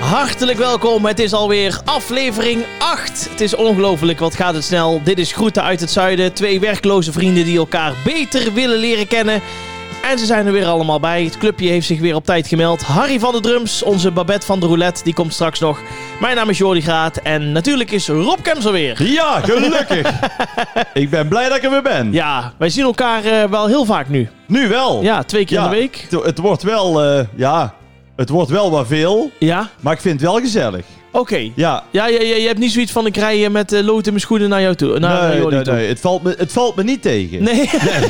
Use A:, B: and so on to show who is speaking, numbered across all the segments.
A: hartelijk welkom. Het is alweer aflevering 8. Het is ongelooflijk, wat gaat het snel. Dit is Groeten uit het Zuiden. Twee werkloze vrienden die elkaar beter willen leren kennen. En ze zijn er weer allemaal bij. Het clubje heeft zich weer op tijd gemeld. Harry van de Drums, onze Babette van de Roulette, die komt straks nog. Mijn naam is Jordi Graat en natuurlijk is Rob Kems er weer.
B: Ja, gelukkig. ik ben blij dat ik er weer ben.
A: Ja, wij zien elkaar eh, wel heel vaak nu.
B: Nu wel.
A: Ja, twee keer
B: Ja,
A: in de week.
B: Het, het wordt wel, eh, ja, het wordt wel wat veel,
A: Ja,
B: maar ik vind het wel gezellig.
A: oké.
B: Ja.
A: Ja, je, je, je hebt niet zoiets van ik rij eh, met eh, lood in mijn schoenen naar jou toe. Naar, naar
B: nee,
A: Jordi
B: nee,
A: toe.
B: nee. Het, valt me, het valt me niet tegen.
A: Nee,
B: Nee.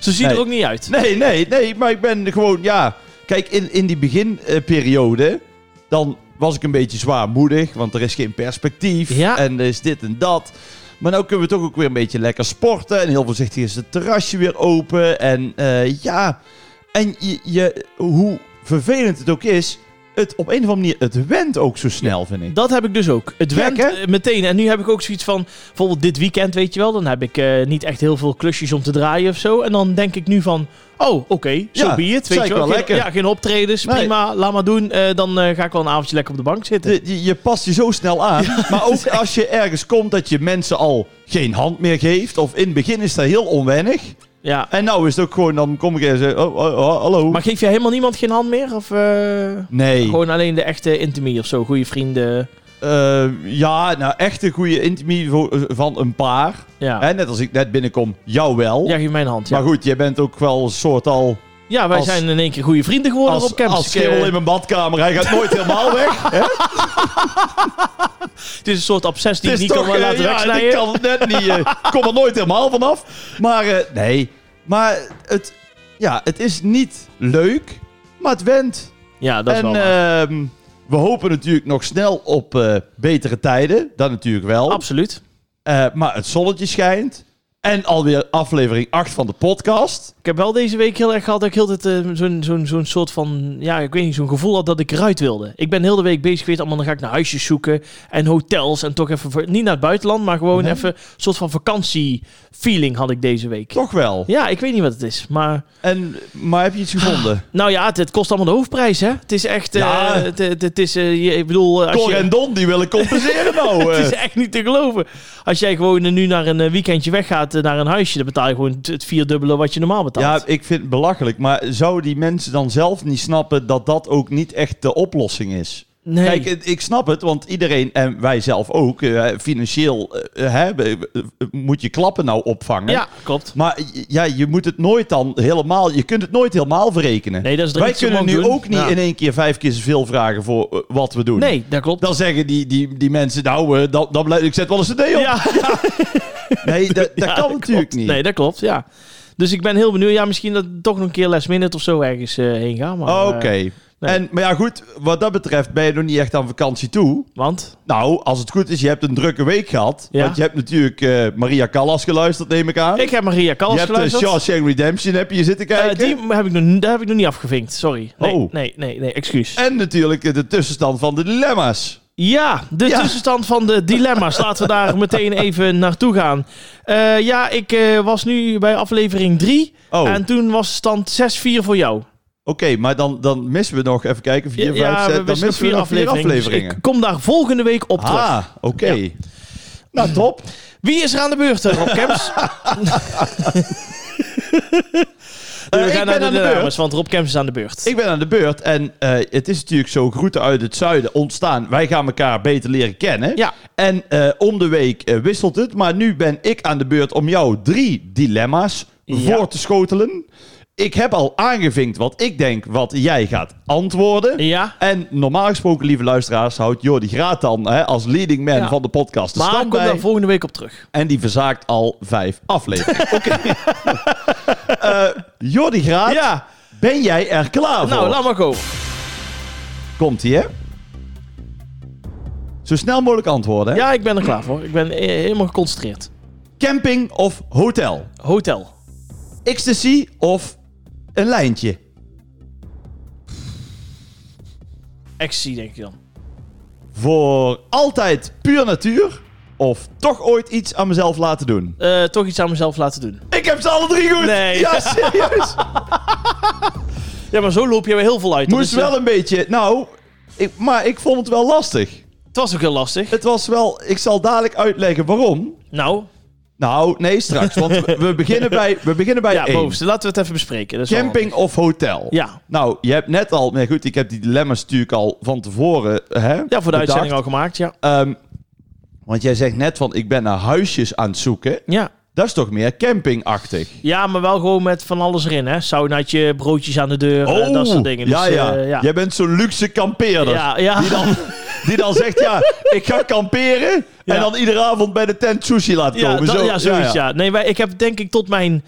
A: ze zien
B: Nee.
A: er ook niet uit.
B: nee, nee, nee, maar ik ben gewoon, ja. Kijk, in, in die beginperiode, dan was ik een beetje zwaarmoedig, want er is geen perspectief.
A: Ja.
B: En er is dit en dat. Maar nu kunnen we toch ook weer een beetje lekker sporten. En heel voorzichtig is het terrasje weer open. En eh, ja, en je, je, hoe vervelend het ook is, het op een of andere manier, het went ook zo snel, vind ik.
A: Dat heb ik dus ook. Het
B: Gek,
A: went
B: hè?
A: eh, meteen. En nu heb ik ook zoiets van, bijvoorbeeld dit weekend, weet je wel, dan heb ik eh, niet echt heel veel klusjes om te draaien of zo. En dan denk ik nu van, oh, oké, zo
B: Ja,
A: be it. Weet
B: zeker
A: je wel.
B: wel
A: Geen-
B: lekker.
A: Ja, geen optredens,
B: Nee. Eh.
A: prima, laat maar doen. Eh, dan eh, ga ik wel een avondje lekker op de bank zitten.
B: De- je, je past je zo snel aan. maar ook als je ergens komt dat je mensen al geen hand meer geeft. Of in het begin is dat heel onwennig.
A: Ja.
B: En nou is het ook gewoon, dan kom ik en zeg, oh, oh, oh, hallo.
A: Maar geef jij helemaal niemand geen hand meer? Of eh,
B: nee.
A: gewoon alleen de echte intimie of zo, goede vrienden?
B: Eh, ja, nou echt een goede intimie vo- van een paar.
A: Ja,
B: Hè, net als ik net binnenkom, jou wel.
A: ja geef mij een hand. Ja,
B: Maar goed, jij bent ook wel een soort al...
A: ja wij
B: als-
A: zijn in één keer goede vrienden geworden
B: als,
A: op campus. Eh,
B: als kerel in mijn badkamer. Hij gaat nooit helemaal weg.
A: Het is een soort obsessie die
B: Het
A: ik
B: is
A: niet
B: toch,
A: kan
B: eh,
A: laten
B: ja,
A: wegsnijden.
B: ik kan het net niet. eh, Ik kom er nooit helemaal vanaf. Maar eh, nee, maar het, ja, het is niet leuk, maar het went.
A: Ja, dat is
B: en
A: wel waar.
B: ehm, we hopen natuurlijk nog snel op eh, betere tijden. Dat natuurlijk wel.
A: Absoluut.
B: Eh, maar het zonnetje schijnt. En alweer aflevering 8 van de podcast.
A: Ik heb wel deze week heel erg gehad dat ik heel de tijd, eh, zo'n zo'n zo'n soort van, ja, ik weet niet, zo'n gevoel had dat ik eruit wilde. Ik ben heel de week bezig geweest, allemaal dan ga ik naar huisjes zoeken en hotels en toch even, voor- niet naar het buitenland, maar gewoon
B: Nee.
A: even een soort van vakantiefeeling had ik deze week.
B: Toch wel.
A: Ja, ik weet niet wat het is, maar...
B: En, maar heb je iets gevonden?
A: Nou ja, het, het kost allemaal de hoofdprijs, hè? Het is echt... eh,
B: Ja.
A: het, het, het is... eh, je- ik bedoel... eh, als
B: Cor
A: je-
B: en Don, die willen compenseren nou. eh.
A: Het is echt niet te geloven. Als jij gewoon eh, nu naar een eh, weekendje weggaat, eh, naar een huisje, dan betaal je gewoon het- het vierdubbele wat je normaal betaalt.
B: Ja, ik vind het belachelijk. Maar zouden die mensen dan zelf niet snappen dat dat ook niet echt de oplossing is?
A: nee.
B: Kijk, het- ik snap het, want iedereen en wij zelf ook, eh, financieel eh, hè, we- we- we- moet je klappen nou opvangen.
A: ja, klopt.
B: Maar j- ja, je moet het nooit dan helemaal, je kunt het nooit helemaal verrekenen.
A: Nee, dat is er
B: wij
A: niet zo
B: kunnen nu
A: lang doen.
B: ook niet
A: Ja.
B: in één keer vijf keer zoveel vragen voor eh, wat we doen.
A: Nee, dat klopt.
B: Dan zeggen die, die, die mensen, nou, eh, dan, dan blijf, ik zet wel eens een D op.
A: ja,
B: Nee, dat, dat
A: Ja,
B: kan
A: klopt.
B: natuurlijk niet.
A: Nee, dat klopt, ja. Dus ik ben heel benieuwd. Ja, misschien dat ik toch nog een keer last minute of zo ergens eh, heen gaan. Maar, eh,
B: Oké. En Maar ja, goed, wat dat betreft ben je nog niet echt aan vakantie toe.
A: want?
B: Nou, als het goed is, je hebt een drukke week gehad.
A: Ja.
B: Want je hebt natuurlijk eh, Maria Callas geluisterd, neem ik aan.
A: Ik heb Maria
B: je
A: Callas
B: hebt de
A: geluisterd.
B: Shawshank Redemption heb je hier zitten
A: Eh,
B: kijken.
A: die heb ik, nog, daar heb ik nog niet afgevinkt, sorry. Nee,
B: Oh.
A: nee, nee, nee, excuus.
B: En natuurlijk eh, de tussenstand van de dilemma's.
A: Ja, de
B: Ja.
A: tussenstand van de dilemma's. Laten we daar meteen even naartoe gaan. Eh, ja, ik eh, was nu bij aflevering 3.
B: Oh, oké,
A: En toen was de stand 6-4 voor jou.
B: maar dan, dan missen we nog, even kijken, vier, vijf, zes, dan
A: wisten
B: missen we nog vier afleveringen.
A: ik kom daar volgende week op terug.
B: ah, oké. Nou, top.
A: Wie is er aan de beurt, eh, Rob Kemps?
B: Eh, ik
A: we gaan
B: ben
A: naar de,
B: aan de
A: dames,
B: beurt.
A: want Rob Kemps is aan de beurt.
B: Ik ben aan de beurt en eh, het is natuurlijk zo groeten uit het zuiden ontstaan. Wij gaan elkaar beter leren kennen.
A: Ja.
B: En eh, om de week eh, wisselt het, maar nu ben ik aan de beurt om jou drie dilemma's
A: Ja.
B: voor te schotelen. Ik heb al aangevinkt wat ik denk wat jij gaat antwoorden.
A: ja,
B: En normaal gesproken, lieve luisteraars, houdt Jordi Graat dan hè, als leading man
A: Ja.
B: van de podcast de
A: maar ik
B: stand
A: kom
B: bij.
A: daar volgende week op terug.
B: En die verzaakt al vijf afleveringen. Oké. Eh, Jordi Graat,
A: ja,
B: ben jij er klaar voor?
A: nou, laat maar komen.
B: Komt ie, hè? Zo snel mogelijk antwoorden. hè?
A: Ja, ik ben er klaar voor. Ik ben eh, helemaal geconcentreerd.
B: Camping of hotel?
A: Hotel.
B: Ecstasy of een lijntje?
A: Ecstasy, denk ik dan.
B: Voor altijd puur natuur? Of toch ooit iets aan mezelf laten doen?
A: Eh, toch iets aan mezelf laten doen.
B: Ik heb ze alle drie goed!
A: Nee.
B: Ja, serieus!
A: Ja, maar zo loop je weer heel veel uit. Dan
B: Moest
A: is, eh,
B: wel een beetje... Nou, Ik, maar ik vond het wel lastig.
A: Het was ook heel lastig.
B: Het was wel... Ik zal dadelijk uitleggen waarom.
A: Nou,
B: Nou, nee, straks. Want we, we beginnen bij, we beginnen bij
A: ja,
B: één.
A: bovenste. Laten we het even bespreken. Dat is wel
B: Camping of hotel?
A: handig. Ja.
B: Nou, je hebt net al... Maar goed, ik heb die dilemma's natuurlijk al van tevoren hè,
A: ja, voor de
B: bedacht.
A: uitzending al gemaakt. Ja.
B: Ehm, want jij zegt net van, ik ben naar huisjes aan het zoeken.
A: Ja.
B: Dat is toch meer campingachtig?
A: ja, maar wel gewoon met van alles erin. Hè? Saunaatje, broodjes aan de deur, eh, dat soort dingen.
B: Oh, ja,
A: dus,
B: ja.
A: eh, ja.
B: Jij bent zo'n luxe kampeerder.
A: ja, ja.
B: Die, dan, die dan zegt, ja, ik ga kamperen.
A: Ja.
B: En dan iedere avond bij de tent sushi laten
A: Ja,
B: komen.
A: dat-
B: Zo-
A: ja, zoiets, ja. Nee, wij, ik heb denk ik tot mijn...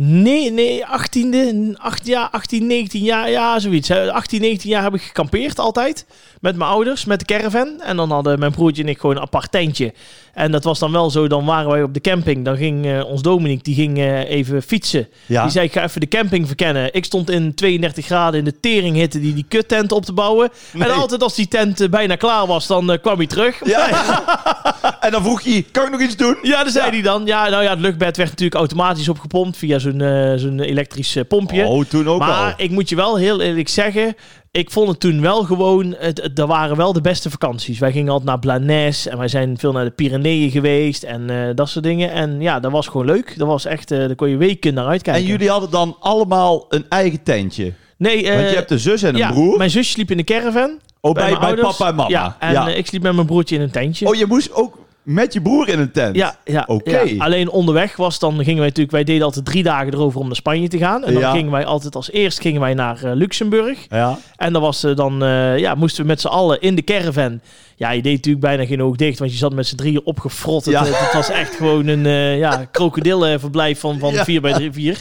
A: Nee, nee, 18e, 8 jaar, 18, 19 jaar, ja, zoiets. hè. 18, 19 jaar heb ik gekampeerd altijd. Met mijn ouders, met de caravan. En dan hadden mijn broertje en ik gewoon een apart tentje. En dat was dan wel zo, dan waren wij op de camping. Dan ging eh, ons Dominique, die ging eh, even fietsen.
B: Ja.
A: Die zei, ik ga even de camping verkennen. Ik stond in 32 graden in de teringhitte die die kuttent op te bouwen.
B: Nee.
A: En altijd als die tent eh, bijna klaar was, dan eh, kwam hij terug.
B: Ja, ja. En dan vroeg hij, kan ik nog iets doen?
A: Ja, dan zei hij dan. Ja, nou ja, het luchtbed werd natuurlijk automatisch opgepompt via zo'n eh, zo'n elektrisch eh, pompje.
B: Oh, toen ook
A: maar
B: al.
A: ik moet je wel heel eerlijk zeggen, ik vond het toen wel gewoon, het, het- dat waren wel de beste vakanties. Wij gingen altijd naar Blanes en wij zijn veel naar de Pyreneeën geweest en eh, dat soort dingen. En ja, dat was gewoon leuk. Dat was echt, eh, daar kon je weken naar uitkijken.
B: En jullie hadden dan allemaal een eigen tentje.
A: Nee, eh,
B: Want je hebt een zus en een
A: ja,
B: broer.
A: mijn zusje liep in de caravan.
B: oh, bij,
A: mijn
B: bij
A: ouders.
B: papa en mama.
A: Ja, en eh, ik sliep met mijn broertje in een tentje.
B: Oh, je moest ook met je broer in een tent?
A: Ja, ja,
B: Oké.
A: ja. Alleen onderweg was dan gingen wij natuurlijk, wij deden altijd drie dagen erover om naar Spanje te gaan. En dan
B: Ja.
A: gingen wij altijd als eerst gingen wij naar eh, Luxemburg.
B: Ja.
A: En dan was eh, dan, eh, ja, moesten we met z'n allen in de caravan. Ja, je deed natuurlijk bijna geen oog dicht, want je zat met z'n drieën opgefrot. Het,
B: Ja.
A: het, het was echt gewoon een eh ja, krokodillenverblijf van, van
B: Ja.
A: vier bij drie, vier.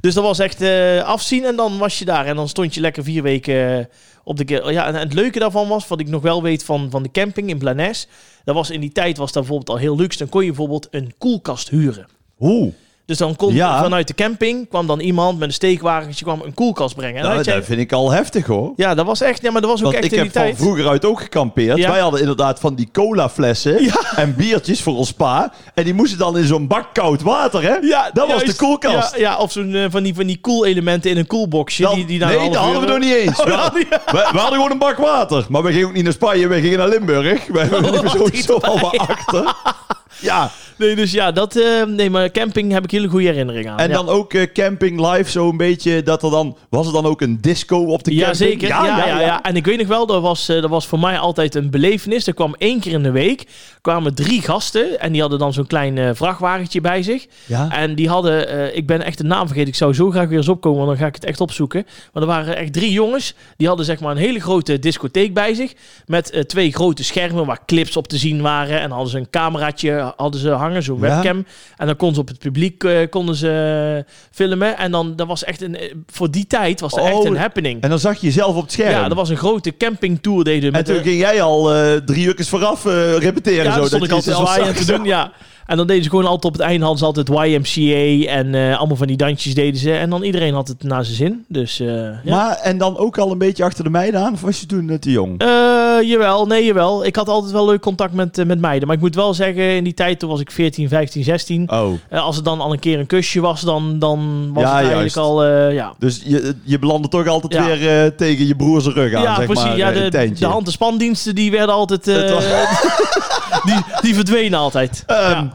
A: Dus dat was echt eh, afzien en dan was je daar. En dan stond je lekker vier weken eh, op de... ca- Ja, en, en het leuke daarvan was, wat ik nog wel weet van, van de camping in Blanes... Dat was in die tijd was dat bijvoorbeeld al heel luxe. Dan kon je bijvoorbeeld een koelkast huren.
B: Hoe?
A: Dus dan kon
B: Ja.
A: vanuit de camping kwam dan iemand met een steekwagentje kwam een koelkast brengen. En dan
B: Nou,
A: had jij-
B: dat vind ik al heftig hoor.
A: ja, dat was echt. Ja, maar dat was ook
B: Want
A: echt
B: ik
A: in
B: heb
A: die
B: van
A: tijd.
B: vroeger uit ook gekampeerd.
A: Ja.
B: Wij hadden inderdaad van die colaflessen
A: Ja.
B: en biertjes voor ons pa. En die moesten dan in zo'n bak koud water, hè?
A: Ja,
B: dat was
A: juist.
B: de koelkast.
A: Ja, ja of zo'n eh, van die, van die koelelementen in een koelboxje.
B: Dan-
A: die, die na een
B: nee,
A: half
B: dat hadden we
A: uur-
B: nog niet eens.
A: Oh,
B: we,
A: dat hadden we-
B: we- we hadden gewoon een bak water. Maar we gingen ook niet naar Spanje, we gingen naar Limburg. We
A: Oh,
B: liepen sowieso allemaal achter. Ja,
A: Nee, dus ja, dat, eh, nee, maar camping heb ik hele goede herinneringen aan.
B: en
A: ja.
B: dan ook eh, camping live, zo'n beetje. Dat er dan, was er dan ook een disco op de
A: Ja,
B: camping?
A: zeker. Ja, ja, ja, En ik weet nog wel, dat was, eh, dat was voor mij altijd een belevenis. Er kwam één keer in de week kwamen drie gasten. En die hadden dan zo'n klein eh, vrachtwagentje bij zich.
B: Ja?
A: En die hadden, eh, ik ben echt de naam vergeten, ik zou zo graag weer eens opkomen, want dan ga ik het echt opzoeken. Maar er waren echt drie jongens, die hadden zeg maar een hele grote discotheek bij zich, met eh, twee grote schermen waar clips op te zien waren. En dan hadden ze een cameraatje eh, hadden ze hangen, zo'n
B: Ja.
A: webcam. En dan konden ze op het publiek eh, konden ze eh, filmen. En dan dat was echt een, eh, voor die tijd was dat echt
B: Oh,
A: een happening.
B: En dan zag je jezelf op het scherm.
A: Ja, dat was een grote campingtour deden
B: En
A: met
B: toen
A: eh,
B: ging jij al eh, drie uurtjes vooraf eh, repeteren.
A: Ja,
B: zo,
A: dan stond
B: dat
A: ik
B: je
A: altijd
B: jezelf
A: zwaaien en
B: zag.
A: te doen, ja. En dan deden ze gewoon altijd op het einde hadden ze altijd YMCA en eh, allemaal van die dansjes deden ze. En dan iedereen had het naar zijn zin, dus eh, ja.
B: Maar, en dan ook al een beetje achter de meiden aan? Of was je toen net te jong?
A: Eh, jawel, nee, jawel. Ik had altijd wel leuk contact met, eh, met meiden. Maar ik moet wel zeggen, in die tijd, toen was ik 14, 15, 16.
B: Oh.
A: eh, als het dan al een keer een kusje was, dan, dan was
B: Ja,
A: het eigenlijk
B: juist.
A: al... eh, ja,
B: Dus je, je belandde toch altijd
A: Ja.
B: weer eh, tegen je broer zijn rug aan, zeg maar,
A: ja,
B: eh, in het
A: de,
B: tentje.
A: de hand- en spandiensten, die werden altijd... eh,
B: Het was-
A: die, die verdwenen altijd.
B: Ehm,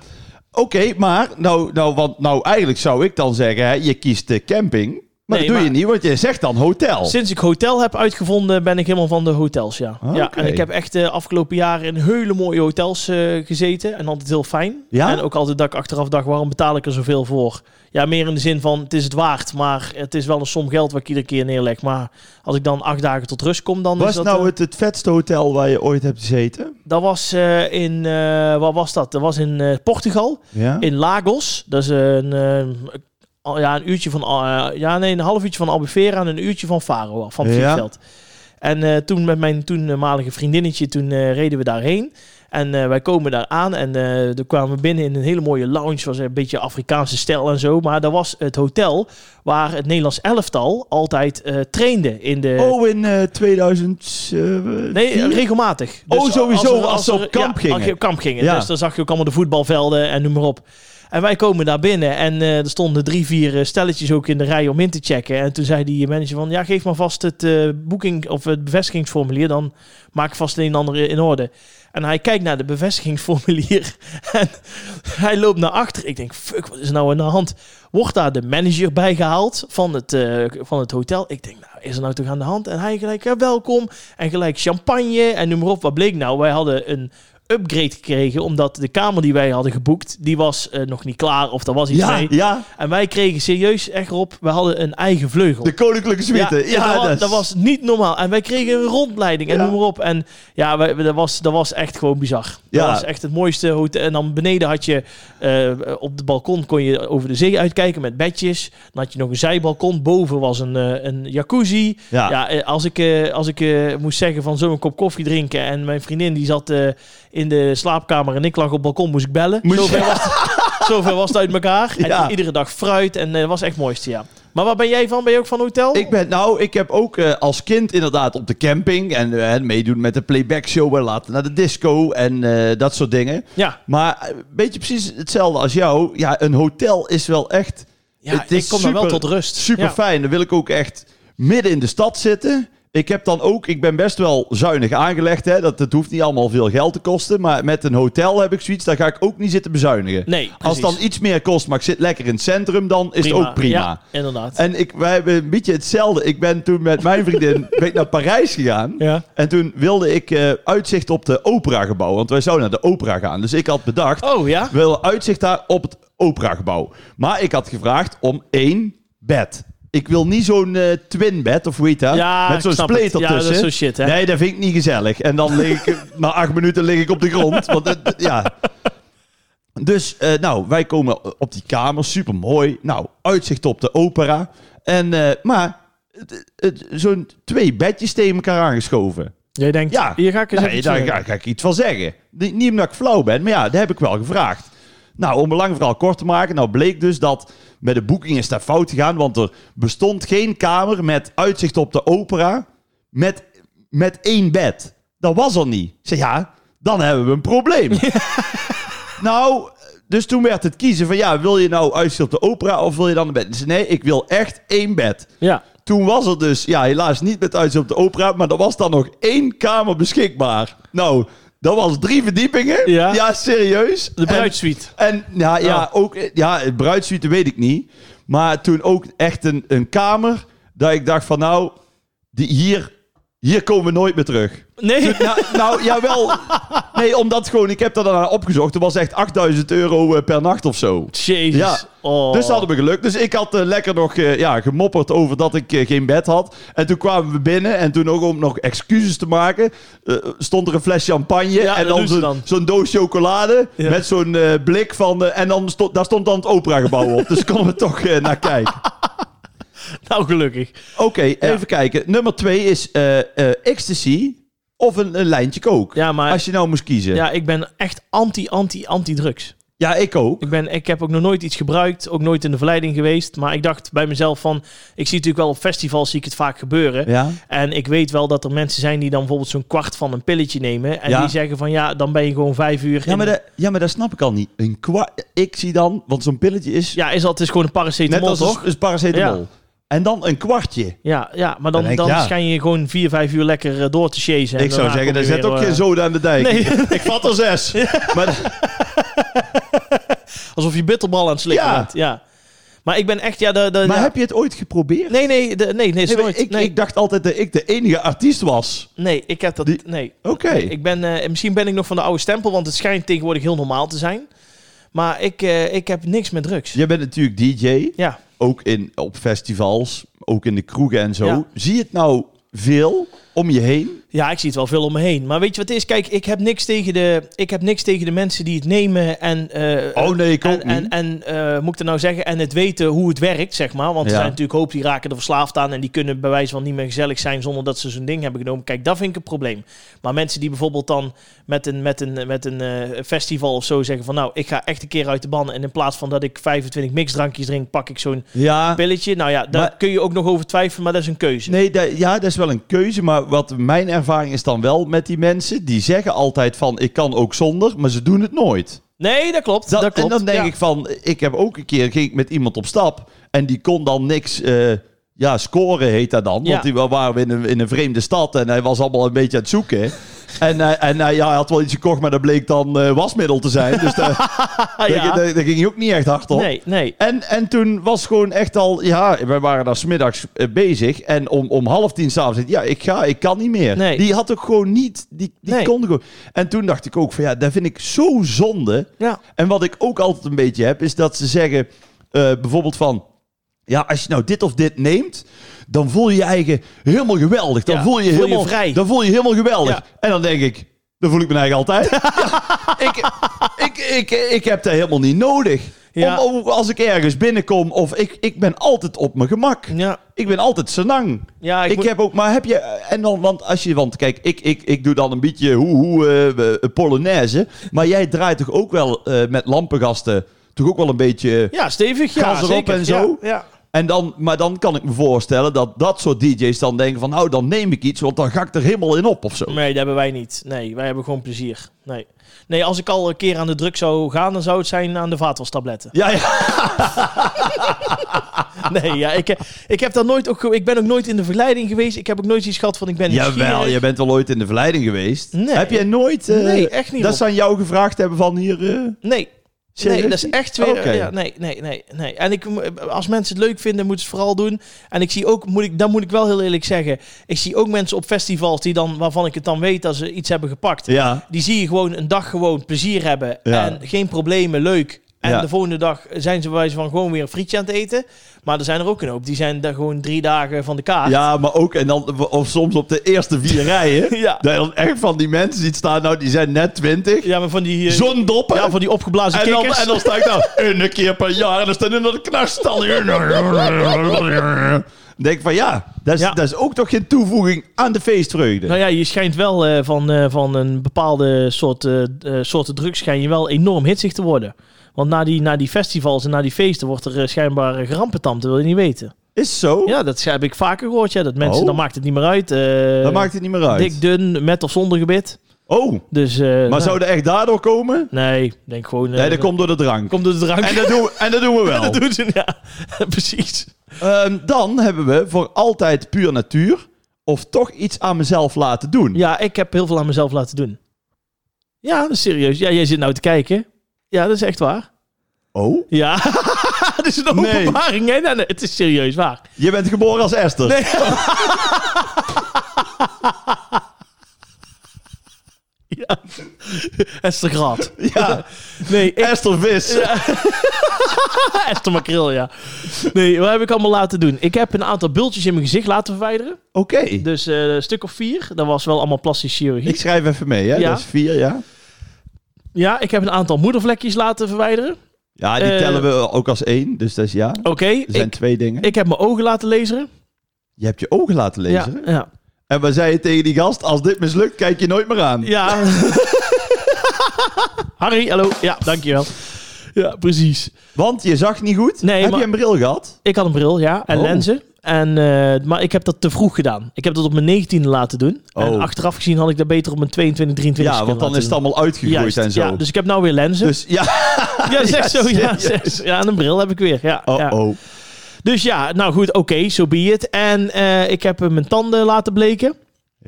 B: Oké, maar nou, nou, want, nou eigenlijk zou ik dan zeggen, hè, je kiest de camping. Maar
A: Nee,
B: dat doe
A: maar-
B: je niet, want je zegt dan hotel.
A: Sinds ik hotel heb uitgevonden, ben ik helemaal van de hotels, ja.
B: Ah,
A: ja
B: oké.
A: en ik heb echt de afgelopen jaren in hele mooie hotels eh, gezeten. En altijd heel fijn.
B: Ja?
A: En ook altijd dat ik achteraf dacht, waarom betaal ik er zoveel voor? Ja, meer in de zin van, het is het waard. Maar het is wel een som geld wat ik iedere keer neerleg. Maar als ik dan acht dagen tot rust kom, dan is
B: Was
A: dat...
B: nou
A: eh,
B: het, het vetste hotel waar je ooit hebt gezeten?
A: Dat was eh, in... eh wat was dat? Dat was in eh, Portugal.
B: Ja?
A: In Lagos, dat is een, eh, al- ja, een uurtje van, eh, ja nee, een half uurtje van Albufeira en een uurtje van Faro af, van het
B: Ja.
A: vliegveld. En eh, toen met mijn toenmalige vriendinnetje, toen eh, reden we daarheen. En eh, wij komen daar aan en eh toen kwamen we binnen in een hele mooie lounge. was een beetje Afrikaanse stijl en zo. Maar dat was het hotel waar het Nederlands elftal altijd eh, trainde. In de,
B: oh, in eh 2007?
A: Nee, regelmatig.
B: eh, Oh, sowieso,
A: er-
B: als ze op
A: er-
B: kamp
A: ja, Als
B: gingen.
A: je op kamp gingen.
B: Ja.
A: Dus dan zag je ook allemaal de voetbalvelden en noem maar op. En wij komen daar binnen en eh, er stonden drie, vier eh, stelletjes ook in de rij om in te checken. En toen zei die manager van, ja, geef maar vast het eh boeking of het bevestigingsformulier, dan maak ik vast een en ander in orde. En hij kijkt naar de bevestigingsformulier en hij loopt naar achter. Ik denk, fuck, wat is er nou aan de hand? Wordt daar de manager bij gehaald van het, eh, van het hotel? Ik denk, nou, is er nou toch aan de hand? En hij gelijk, ja, welkom. En gelijk champagne en noem maar op. Wat bleek nou? Wij hadden een upgrade gekregen, omdat de kamer die wij hadden geboekt, die was eh, nog niet klaar of er was iets
B: Ja,
A: mee.
B: ja,
A: En wij kregen serieus echt op, we hadden een eigen vleugel.
B: de koninklijke suite. Ja,
A: dat, wa-
B: dat, is-
A: dat was niet normaal. En wij kregen een rondleiding en
B: Ja.
A: noem maar op. En ja, wij, dat, was, dat was echt gewoon bizar.
B: Ja.
A: Dat was echt het mooiste hotel. En dan beneden had je, eh, op het balkon kon je over de zee uitkijken met bedjes. Dan had je nog een zijbalkon. Boven was een, eh, een jacuzzi.
B: Ja.
A: Ja, eh, als ik, eh, als ik eh, moest zeggen van zo'n kop koffie drinken en mijn vriendin die zat eh, in de slaapkamer en ik lag op het balkon, moest ik bellen.
B: Moest je-
A: Zover, was het, zover was het uit elkaar.
B: Ja.
A: En iedere dag fruit en eh, dat was echt het mooiste, ja. Maar waar ben jij van? Ben je ook van hotel?
B: Ik ben, nou, ik heb ook eh, als kind inderdaad op de camping en eh, meedoen met de playback show en later naar de disco en eh, dat soort dingen.
A: Ja,
B: Maar eh, een beetje precies hetzelfde als jou. Ja, een hotel is wel echt
A: ja
B: Het is
A: ik kom daar wel
B: super-
A: tot rust.
B: super
A: ja.
B: fijn. Dan wil ik ook echt midden in de stad zitten. Ik heb dan ook, ik ben best wel zuinig aangelegd. Hè? Dat het hoeft niet allemaal veel geld te kosten. Maar met een hotel heb ik zoiets, daar ga ik ook niet zitten bezuinigen.
A: Nee,
B: als
A: precies.
B: dan iets meer kost, maar ik zit lekker in het centrum, dan is het ook prima.
A: Ja, inderdaad.
B: En ik, wij hebben een beetje hetzelfde. Ik ben toen met mijn vriendin ben ik naar Parijs gegaan.
A: ja.
B: En toen wilde ik eh, uitzicht op de operagebouw. Want wij zouden naar de opera gaan. Dus ik had bedacht,
A: Oh ja?
B: we willen uitzicht daar op het operagebouw. Maar ik had gevraagd om één bed. Ik wil niet zo'n eh, twinbed, of hoe heet dat?
A: Ja,
B: Met zo'n
A: ik snap het.
B: spleet
A: Ja,
B: ertussen.
A: dat is zo shit, hè?
B: Nee, dat vind ik niet gezellig. En dan lig ik, na acht minuten lig ik op de grond. Want het- ja. Dus, eh, nou, wij komen op die kamer, super mooi. Nou, uitzicht op de opera. En, eh, maar, het- het- zo'n twee bedjes tegen elkaar aangeschoven.
A: Jij denkt,
B: Ja.
A: hier ga ik eens
B: Nee,
A: even
B: daar
A: terug.
B: ga, ga ik iets van zeggen. Niet, niet omdat ik flauw ben, maar ja, dat heb ik wel gevraagd. Nou, om een lang verhaal kort te maken. Nou bleek dus dat met de boeking is daar fout gegaan. Want er bestond geen kamer met uitzicht op de opera met, met één bed. Dat was er niet. Ik zei, ja, dan hebben we een probleem. Nou, dus toen werd het kiezen van, ja, wil je nou uitzicht op de opera of wil je dan een bed? Ik zei, nee, ik wil echt één bed.
A: Ja.
B: Toen was er dus, ja, helaas niet met uitzicht op de opera, maar er was dan nog één kamer beschikbaar. Nou, dat was drie verdiepingen.
A: Ja.
B: serieus.
A: De bruidsuite.
B: En, en ja, ja, ook, ja, bruidsuite weet ik niet. Maar toen ook echt een, een kamer, dat ik dacht van, nou, die, hier, hier komen we nooit meer terug.
A: Nee?
B: Nou, nou, jawel. Nee, omdat gewoon, ik heb dat daarna opgezocht. Er was echt 8000 euro eh, per nacht of zo.
A: Jezus.
B: Ja.
A: Oh.
B: Dus dat hadden we geluk. Dus ik had eh, lekker nog eh, ja, gemopperd over dat ik eh, geen bed had. En toen kwamen we binnen. En toen ook om nog excuses te maken. eh, stond er een fles champagne.
A: Ja, dat
B: en dan
A: doen ze
B: zo'n
A: dan.
B: zo'n doos chocolade.
A: Ja.
B: Met zo'n eh, blik van. eh, en dan stond, daar stond dan het operagebouw op. Dus konden we toch eh, naar kijken.
A: Nou, gelukkig.
B: Oké, even kijken. Nummer twee is eh eh, ecstasy. Of een, een lijntje kook.
A: Ja, maar
B: Als je nou moest kiezen. Ja,
A: ja, ik ben echt anti, anti, anti-drugs.
B: ik ook.
A: Ik, ben, ik heb ook nog nooit iets gebruikt, ook nooit in de verleiding geweest. Maar ik dacht bij mezelf van, ik zie natuurlijk wel op festivals zie ik het vaak gebeuren.
B: Ja.
A: En ik weet wel dat er mensen zijn die dan bijvoorbeeld zo'n kwart van een pilletje nemen. En
B: Ja.
A: die zeggen van, ja, dan ben je gewoon vijf uur
B: Ja,
A: in-
B: maar dat, ja, maar dat snap ik al niet. Een kwa ik zie dan, want zo'n pilletje is
A: Ja, is dat is gewoon een
B: net
A: paracetamol,
B: als
A: toch?
B: een, een paracetamol.
A: Ja.
B: En dan een kwartje.
A: Ja, ja, maar dan,
B: Dan denk
A: dan,
B: ik, ja.
A: schijn je gewoon vier, vijf uur lekker eh, door te chasen. en
B: ik zou
A: daarna
B: zeggen,
A: kom
B: daar
A: je
B: zet
A: weer,
B: ook
A: eh,
B: geen zoden aan de dijk.
A: Nee.
B: ik vat er zes. Maar,
A: Alsof je bitterbal aan het slikken
B: Ja.
A: bent. Ja. Maar ik ben echt, ja... De, de,
B: maar
A: ja.
B: heb je het ooit geprobeerd?
A: Nee, nee, de- nee, nee, is
B: Nee, maar
A: nooit.
B: ik,
A: nee,
B: ik dacht altijd dat ik de enige artiest was.
A: nee, ik heb dat...
B: Die-
A: nee.
B: Oké.
A: Ik ben, eh, misschien ben ik nog van de oude stempel, want het schijnt tegenwoordig heel normaal te zijn. Maar ik, eh, ik heb niks met drugs.
B: Jij bent natuurlijk DJ,
A: Ja.
B: ook in, op festivals, ook in de kroegen en zo.
A: Ja.
B: Zie je het nou veel om je heen?
A: ja, ik zie het wel veel om me heen. Maar weet je wat het is? Kijk, ik heb niks tegen de, ik heb niks tegen de mensen die het nemen en... eh,
B: Oh nee, ik ook
A: En, en,
B: niet.
A: en eh, moet ik er nou zeggen, en het weten hoe het werkt, zeg maar. Want
B: Ja.
A: er zijn natuurlijk hoop die raken er verslaafd aan. En die kunnen bij wijze van niet meer gezellig zijn zonder dat ze zo'n ding hebben genomen. Kijk, dat vind ik een probleem. Maar mensen die bijvoorbeeld dan met een, met een, met een eh, festival of zo zeggen van... Nou, ik ga echt een keer uit de ban. En in plaats van dat ik 25 mixdrankjes drink, pak ik zo'n
B: ja.
A: pilletje. Nou ja, daar
B: Maar-
A: kun je ook nog over twijfelen, maar dat is een keuze.
B: Nee, da- ja, dat is wel een keuze. Maar wat mijn ervaring is dan wel met die mensen, die zeggen altijd van ik kan ook zonder, maar ze doen het nooit.
A: Nee, dat klopt. Dat,
B: Dat-
A: klopt.
B: En dan denk
A: ja.
B: ik van, ik heb ook een keer ging ik met iemand op stap en die kon dan niks. eh, ja, scoren heet dat dan.
A: Ja.
B: Want die wa- waren we in een, in een vreemde stad en hij was allemaal een beetje aan het zoeken. En, hij- en hij, ja, hij had wel iets gekocht, maar dat bleek dan eh, wasmiddel te zijn. Dus daar,
A: Ah, ja.
B: daar- daar- daar ging hij ook niet echt hard op.
A: Nee, nee.
B: En, en toen was gewoon echt al, ja, wij waren daar smiddags eh, bezig. En om, om half tien s'avonds, ja, ik ga, ik kan niet meer.
A: Nee.
B: Die had ook gewoon niet, die, die
A: Nee.
B: kon gewoon. En toen dacht ik ook van, ja, dat vind ik zo zonde.
A: Ja.
B: En wat ik ook altijd een beetje heb, is dat ze zeggen eh, bijvoorbeeld van... Ja, als je nou dit of dit neemt, dan voel je je eigen helemaal geweldig. Dan
A: Ja,
B: voel je
A: voel je
B: helemaal
A: vrij.
B: Dan voel je helemaal geweldig.
A: Ja.
B: En dan denk ik, dan voel ik me eigen altijd. Ja, ik, ik, ik, ik heb dat helemaal niet nodig.
A: Ja.
B: Om, om- als ik ergens binnenkom of ik, ik ben altijd op mijn gemak.
A: Ja.
B: Ik ben altijd senang.
A: Ja, ik
B: Ik
A: moet-
B: heb ook, maar heb je, en dan, want als je, want kijk, ik, ik, ik doe dan een beetje hoe, hoe, eh, eh, Polonaise, maar jij draait toch ook wel eh, met lampengasten, toch ook wel een beetje,
A: ja, stevig. Ja,
B: Gas erop
A: zeker.
B: en zo.
A: Ja, ja.
B: en dan, maar dan kan ik me voorstellen dat dat soort DJ's dan denken van, nou, dan neem ik iets, want dan ga ik er helemaal in op of zo.
A: Nee, dat hebben wij niet. Nee, wij hebben gewoon plezier. Nee. nee, als ik al een keer aan de druk zou gaan, dan zou het zijn aan de vaatwastabletten.
B: Ja, ja,
A: Nee, ja, ik, eh, ik, heb daar nooit ook, ge- ik ben ook nooit in de verleiding geweest. Ik heb ook nooit iets gehad van ik ben
B: jawel,
A: nieuwsgierig.
B: je bent wel ooit in de verleiding geweest.
A: Nee.
B: Heb jij nooit, eh,
A: Nee, echt niet,
B: dat
A: Rob.
B: ze aan jou gevraagd hebben van hier, eh,
A: Nee. Nee,
B: serieus
A: dat is
B: niet?
A: echt weer...
B: Oké.
A: Ja, nee, nee, nee, nee. En ik, als mensen het leuk vinden, moeten ze het vooral doen. En ik zie ook, moet ik, dan moet ik wel heel eerlijk zeggen... Ik zie ook mensen op festivals die dan, waarvan ik het dan weet dat ze iets hebben gepakt.
B: Ja,
A: Die zie je gewoon een dag gewoon plezier hebben.
B: Ja.
A: En geen problemen, leuk. En
B: Ja.
A: de volgende dag zijn ze bij wijze van gewoon weer een frietje aan het eten. Maar er zijn er ook een hoop. Die zijn daar gewoon drie dagen van de kaart.
B: Ja, maar ook, en dan, of soms op de eerste vier rijen,
A: Ja.
B: dat je dan echt van die mensen ziet staan, nou, die zijn net twintig,
A: Ja, maar van die, eh,
B: zondoppen,
A: ja, van die opgeblazen
B: en, dan,
A: kikkers.
B: en dan sta ik daar, een keer per jaar, en dan staan in dat knarstal. denk van, ja dat, is,
A: Ja.
B: dat is ook toch geen toevoeging aan de feestvreugde.
A: Nou ja, je schijnt wel eh, van, eh, van een bepaalde soort eh, eh, soorten drugs schijn je wel enorm hitsig te worden. Want na die, na die festivals en na die feesten wordt er eh, schijnbaar eh, gerampetampt, dat wil je niet weten.
B: Is zo,
A: Ja, dat heb ik vaker gehoord, ja, dat mensen,
B: Oh.
A: dan maakt het niet meer uit. eh,
B: dat maakt het niet meer uit.
A: Dik, dun, met of zonder gebit.
B: oh,
A: Dus, eh,
B: maar
A: nou,
B: zou dat echt daardoor komen?
A: Nee, denk gewoon... eh,
B: Nee, dat komt door de drank.
A: komt door de drank.
B: En dat doen we, en dat doen we wel.
A: dat doen ze, ja. Precies.
B: Ehm, dan hebben we voor altijd puur natuur, of toch iets aan mezelf laten doen.
A: Ja, ik heb heel veel aan mezelf laten doen. Ja, dat is serieus. Ja, jij zit nou te kijken. Ja, dat is echt waar.
B: Oh?
A: Ja, dat is een
B: Nee.
A: openbaring. Nee, nee, nee, het is serieus waar.
B: Je bent geboren als Esther.
A: Nee. Ja. Esther Graat.
B: Ja,
A: Nee, ik,
B: Esther Vis.
A: Esther Makril, ja. Nee, wat heb ik allemaal laten doen? Ik heb een aantal bultjes in mijn gezicht laten verwijderen.
B: Oké.
A: Dus eh, een stuk of vier. Dat was wel allemaal plastische chirurgie.
B: Ik schrijf even mee, hè?
A: Ja.
B: Dat is vier, ja.
A: Ja, ik heb een aantal moedervlekjes laten verwijderen.
B: Ja, die
A: Eh,
B: tellen we ook als één, dus dat is ja. Er
A: Oké,
B: zijn
A: ik,
B: twee dingen.
A: ik heb mijn ogen laten laseren.
B: Je hebt je ogen laten lezen.
A: Ja, ja.
B: En we zeiden tegen die gast, als dit mislukt, kijk je nooit meer aan.
A: Ja. Harry, hallo. Ja, dankjewel. Ja, precies.
B: Want je zag niet goed.
A: Nee,
B: Heb
A: maar-
B: je een bril gehad?
A: Ik had een bril, ja, en
B: Oh.
A: lenzen. En, eh, maar ik heb dat te vroeg gedaan. Ik heb dat op mijn 19e laten doen. En
B: Oh.
A: achteraf gezien had ik dat beter op mijn 22, 23
B: Ja, want dan is het
A: dat
B: allemaal uitgegroeid en zo.
A: Ja, dus ik heb nou weer lenzen.
B: Dus ja,
A: ja, dat is echt zo. Ja,
B: serieus.
A: zes. ja, en een bril heb ik weer. Ja,
B: oh,
A: ja.
B: oh.
A: Dus ja, nou goed, oké, zo so be it. En eh, ik heb eh, mijn tanden laten bleken.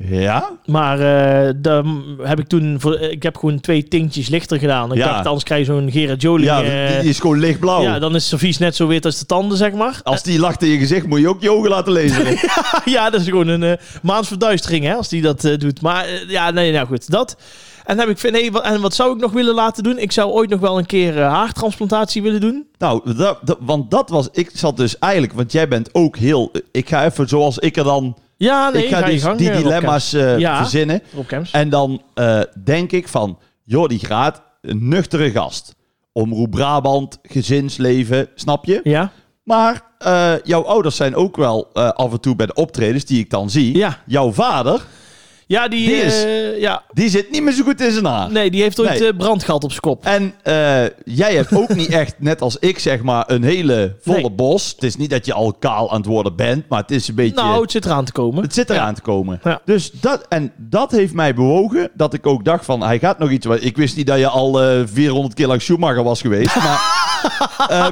B: Ja?
A: Maar eh dan heb ik toen... Voor, eh, ik heb gewoon twee tintjes lichter gedaan. Ik
B: Ja.
A: dacht, anders krijg je zo'n Gerard Joling...
B: Ja,
A: eh,
B: die- oh. die is gewoon lichtblauw.
A: ja, dan is Sofies net zo wit als de tanden, zeg maar. Ah,
B: Als die lacht in je gezicht, moet je ook je ogen laten lezen.
A: ja, dat is gewoon een eh, maansverduistering, hè, als die dat eh, doet. Maar eh, ja, nee, nou goed, dat. En, heb ik, vind- nee, wat, en wat zou ik nog willen laten doen? Ik zou ooit nog wel een keer eh, haartransplantatie willen doen.
B: Nou, dat, dat- want dat was... Ik zat dus eigenlijk... Want jij bent ook heel... Ik ga even zoals ik er dan...
A: Ja, nee,
B: ik ga, die,
A: je gang,
B: die
A: eh, Rob Kemps.
B: dilemma's eh,
A: Ja.
B: verzinnen.
A: Rob Kemps.
B: En dan eh, denk ik van... joh, die Graat, een nuchtere gast. Omroep Brabant, gezinsleven, snap je?
A: Ja,
B: Maar eh, jouw ouders zijn ook wel eh, af en toe bij de optredens die ik dan zie.
A: Ja.
B: Jouw vader
A: Ja, die,
B: Die is-
A: eh, ja.
B: Die zit niet meer zo goed in zijn haar.
A: Nee, die heeft ooit
B: Nee.
A: eh, brand gehad op zijn kop.
B: En eh, jij hebt ook niet echt, net als ik zeg maar, een hele volle
A: Nee.
B: bos. Het is niet dat je al kaal aan het worden bent, maar het is een beetje...
A: Nou, het zit eraan te komen.
B: Het zit eraan te komen.
A: Ja.
B: Dus dat, en dat heeft mij bewogen dat ik ook dacht van, hij gaat nog iets... Ik wist niet dat je al eh, 400 keer langs Schumacher was geweest, maar... ehm,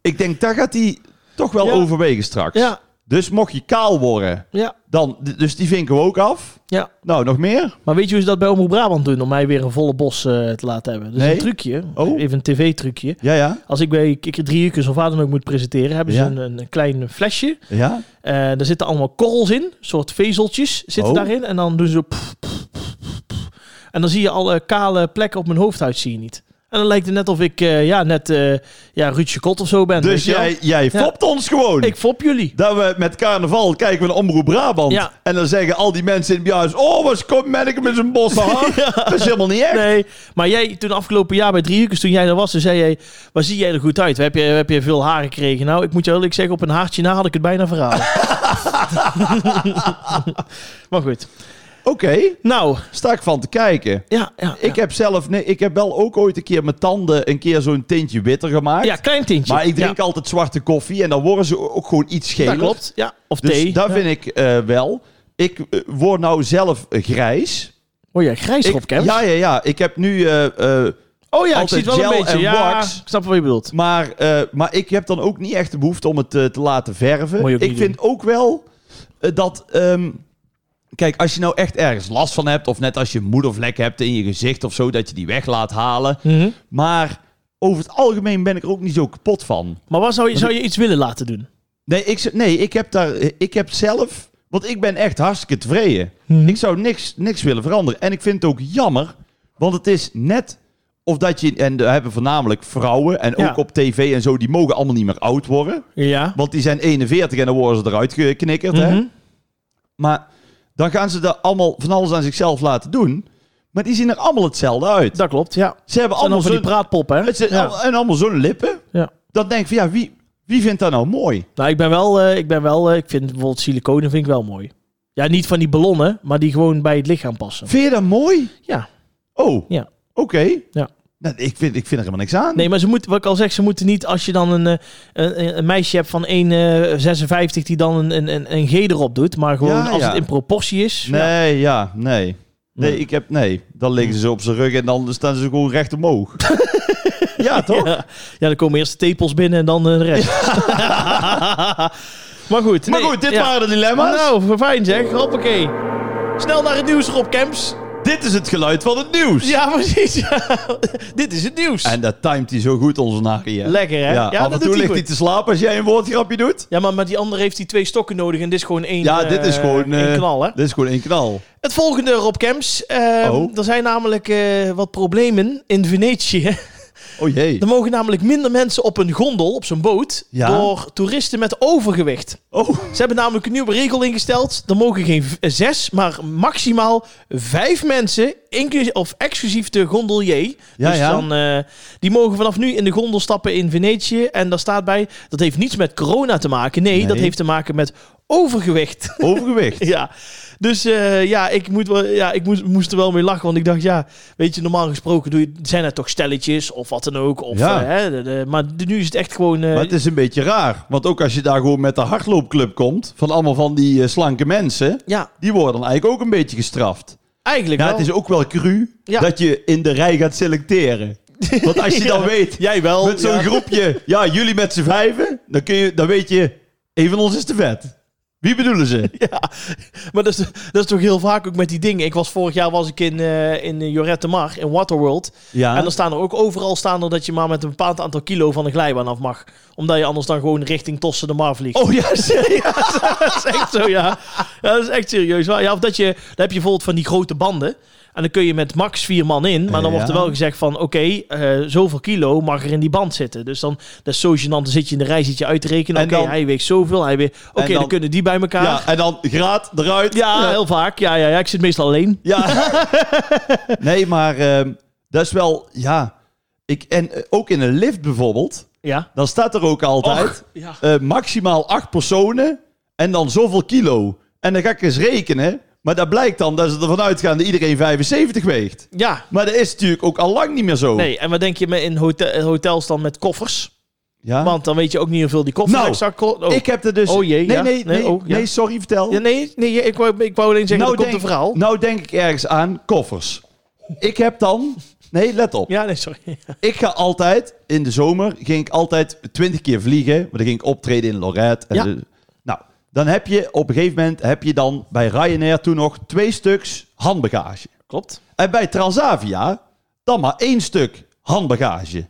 B: ik denk, daar gaat hij toch wel
A: Ja.
B: overwegen straks.
A: Ja.
B: Dus mocht je kaal worden,
A: Ja,
B: dan... Dus die vinken we ook af.
A: ja.
B: Nou, nog meer?
A: Maar weet je hoe ze dat bij Omroep Brabant doen? Om mij weer een volle bos eh, te laten hebben. Dus
B: Nee.
A: een trucje.
B: Oh.
A: Even een tv-trucje.
B: Ja, ja.
A: Als ik bij Kikker Driehoekers of waar dan ook moet presenteren, hebben ze
B: Ja.
A: een, een klein flesje.
B: Ja?
A: Eh, daar zitten allemaal korrels in, soort vezeltjes zitten
B: Oh.
A: daarin. En dan doen ze zo pff, pff, pff, pff. En dan zie je alle kale plekken op mijn hoofdhuid zie je niet. En dan lijkt het net of ik eh, ja, net eh ja, Ruudje Kot of zo ben. weet
B: Dus
A: je wel.
B: jij, jij
A: Ja.
B: fopt ons gewoon.
A: Ik fop jullie.
B: Dat we met carnaval kijken we naar Omroep Brabant.
A: Ja.
B: En dan zeggen al die mensen in het huis... Oh, wat komt Menneke met zijn bos haar? Dat is helemaal niet echt.
A: Nee, maar jij toen afgelopen jaar bij Driehoekers, toen jij daar was, toen zei jij, waar zie jij er goed uit? Heb je, heb je veel haar gekregen? Nou, ik moet je eerlijk zeggen, op een haartje na had ik het bijna verraden. maar goed.
B: Oké,
A: Nou,
B: sta ik van te kijken.
A: ja. ja,
B: Ik heb zelf... Nee, ik heb wel ook ooit een keer mijn tanden... een keer zo'n tintje witter gemaakt.
A: ja, klein tintje.
B: maar ik drink
A: ja,
B: altijd zwarte koffie. En dan worden ze ook gewoon iets
A: Dat
B: geler.
A: klopt, ja. Of
B: Dus
A: thee.
B: dat
A: ja.
B: vind ik eh, wel. Ik eh, word nou zelf eh, grijs.
A: Oh ja, grijs
B: Ik-
A: erop, Kems.
B: ja, ja, ja. Ik heb nu... eh, eh,
A: oh ja, ik
B: altijd
A: zie het wel een
B: gel
A: beetje.
B: en
A: Ja,
B: wax.
A: ik snap wat je bedoelt.
B: Maar, eh, maar ik heb dan ook niet echt de behoefte om het eh, te laten verven.
A: Moet je
B: Ik
A: ook niet
B: vind ook wel eh, dat. ehm, kijk, als je nou echt ergens last van hebt, of net als je moedervlek hebt in je gezicht of zo, dat je die weg laat halen. Maar over het algemeen ben ik er ook niet zo kapot van.
A: Maar wat zou je, zou je iets willen laten doen?
B: Nee, ik, z- nee, ik heb daar. Ik heb zelf. Want ik ben echt hartstikke tevreden.
A: Mhm.
B: Ik zou niks, niks willen veranderen. En ik vind het ook jammer. Want het is net. Of dat je. En daar hebben voornamelijk vrouwen. En ook
A: Ja.
B: op tv en zo. Die mogen allemaal niet meer oud worden.
A: Ja.
B: Want die zijn 41 en dan worden ze eruit geknikkerd. hè?
A: Mhm.
B: Maar dan gaan ze er allemaal van alles aan zichzelf laten doen. Maar die zien er allemaal hetzelfde uit.
A: Dat klopt, ja. Het
B: Ze hebben
A: zijn
B: allemaal
A: allemaal van
B: zo'n
A: die praatpoppen, hè?
B: het zijn
A: Ja.
B: al- en allemaal zo'n lippen.
A: Ja.
B: Dan denk ik van ja, wie, wie vindt dat nou mooi?
A: Nou, ik ben wel, eh, ik ben wel, eh, ik vind bijvoorbeeld siliconen vind ik wel mooi. Ja, niet van die ballonnen, maar die gewoon bij het lichaam passen.
B: Vind je dat mooi?
A: Ja.
B: Oh,
A: Ja.
B: oké.
A: Ja.
B: Nou, ik, vind, ik vind er helemaal niks aan.
A: Nee, maar ze moeten, wat ik al zeg, ze moeten niet als je dan een, eh, een, een meisje hebt van 1,56 die dan een, een, een, een G erop doet. Maar gewoon
B: Ja,
A: als
B: ja.
A: het in proportie is. ja.
B: Nee, ja, nee. Nee,
A: Nee.
B: ik heb... Nee, dan liggen ze op zijn rug en dan staan ze gewoon recht omhoog. ja, toch?
A: Ja, ja, dan komen eerst de tepels binnen en dan eh, de rest. maar goed.
B: Maar
A: nee,
B: goed, dit
A: ja.
B: waren de dilemma's.
A: Nou, fijn zeg. Hoppakee. Snel naar het nieuws, Rob Kemps.
B: Dit is het geluid van het nieuws.
A: Ja, precies. ja. Dit is het nieuws.
B: En dat timet hij zo goed, onze nachtje.
A: Lekker, hè?
B: Ja,
A: Ja, dat
B: af en
A: doet
B: toe
A: hij
B: ligt
A: goed.
B: hij te slapen als jij een woordgrapje doet.
A: Ja, maar met die andere heeft hij twee stokken nodig en dit is gewoon één,
B: Ja,
A: eh,
B: dit is gewoon... eh,
A: één knal, hè?
B: Dit is gewoon één knal.
A: Het volgende, Rob Kemps. Ehm,
B: Oh.
A: Er zijn namelijk eh, wat problemen in Venetië.
B: Oh jee.
A: Er mogen namelijk minder mensen op een gondel, op zo'n boot,
B: Ja.
A: door toeristen met overgewicht.
B: Oh,
A: Ze hebben namelijk een nieuwe regel ingesteld. Er mogen geen v- eh, zes, maar maximaal vijf mensen, inclusief of exclusief de gondelier.
B: Ja,
A: dus
B: ja.
A: dan, eh, die mogen vanaf nu in de gondel stappen in Venetië. En daar staat bij, dat heeft niets met corona te maken. Nee,
B: Nee.
A: dat heeft te maken met overgewicht.
B: overgewicht.
A: ja. Dus eh, ja, ik, moet wel, ja, ik moest, moest er wel mee lachen. Want ik dacht, ja, weet je, normaal gesproken doe je, zijn er toch stelletjes of wat dan ook. Of,
B: Ja.
A: eh, hè, de- de- maar nu is het echt gewoon... eh,
B: Maar het is een beetje raar. Want ook als je daar gewoon met de hardloopclub komt... van allemaal van die eh, slanke mensen...
A: ja,
B: die worden dan eigenlijk ook een beetje gestraft.
A: eigenlijk
B: Ja,
A: wel.
B: het is ook wel cru
A: Ja.
B: dat je in de rij gaat selecteren. Want als je dan weet,
A: Jij wel.
B: met zo'n
A: ja.
B: groepje... ja, jullie met z'n vijven... dan, kun je, dan weet je, een van ons is te vet. Wie bedoelen ze?
A: Ja, maar dat is, dat is toch heel vaak ook met die dingen. Ik was vorig jaar was ik in, eh in eh, Jorette Mar, in Waterworld.
B: Ja.
A: En dan staan er ook overal staan er dat je maar met een bepaald aantal kilo van de glijbaan af mag. Omdat je anders dan gewoon richting Tossen de Mar vliegt.
B: Oh ja, serieus?
A: dat is echt zo, ja. ja. Dat is echt serieus. waar. Ja, of dat je, dan heb je bijvoorbeeld van die grote banden. En dan kun je met max vier man in. Maar dan
B: Eh,
A: wordt er
B: ja.
A: wel gezegd van, oké, eh, zoveel kilo mag er in die band zitten. Dus dan, dat is zo gênant. Dan zit je in de rij, zit je uit te rekenen.
B: En
A: Oké,
B: dan-
A: hij weegt zoveel. Hij weegt... Oké, dan,
B: dan-
A: kunnen die bij elkaar.
B: Ja, en dan graad eruit.
A: Ja, heel vaak. Ja, ja, ja, ik zit meestal alleen.
B: Ja. nee, maar ehm, dat is wel, ja. Ik, en eh, ook in een lift bijvoorbeeld,
A: Ja.
B: dan staat er ook altijd
A: ja.
B: eh, maximaal acht personen en dan zoveel kilo. En dan ga ik eens rekenen. Maar daar blijkt dan dat ze ervan uitgaan dat iedereen 75 weegt.
A: Ja.
B: Maar dat is natuurlijk ook al lang niet meer zo.
A: Nee, en wat denk je met in hotel, hotels dan met koffers?
B: Ja?
A: Want dan weet je ook niet hoeveel die koffers
B: Nou,
A: exact ko- oh.
B: Ik heb er dus...
A: Oh jee,
B: nee,
A: ja. Nee,
B: nee, nee,
A: oh, ja.
B: nee, sorry, vertel.
A: Ja, nee, nee ja, ik, wou, ik wou alleen zeggen, dat komt
B: denk,
A: een verhaal.
B: nou denk ik ergens aan koffers. Ik heb dan... Nee, let op.
A: Ja, nee, sorry.
B: Ik ga altijd, in de zomer, ging ik altijd 20 keer vliegen. Want dan ging ik optreden in Lorette. En
A: Ja.
B: de- nou, dan heb je op een gegeven moment, heb je dan bij Ryanair toen nog twee stuks handbagage.
A: Klopt.
B: En bij Transavia dan maar één stuk handbagage.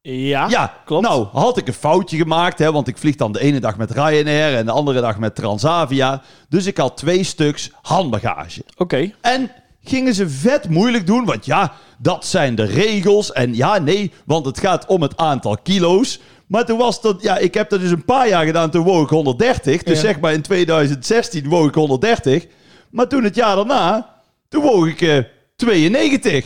A: Ja,
B: ja,
A: Ah, klopt.
B: Nou, had ik een foutje gemaakt, hè, want ik vlieg dan de ene dag met Ryanair en de andere dag met Transavia. Dus ik had twee stuks handbagage.
A: oké.
B: En gingen ze vet moeilijk doen, want ja, dat zijn de regels. En ja, nee, want het gaat om het aantal kilo's. Maar toen was dat, ja, ik heb dat dus een paar jaar gedaan, toen woog ik 130. Dus
A: Ja.
B: zeg maar in 2016 woog ik 130. Maar toen het jaar daarna, toen woog ik eh, 92.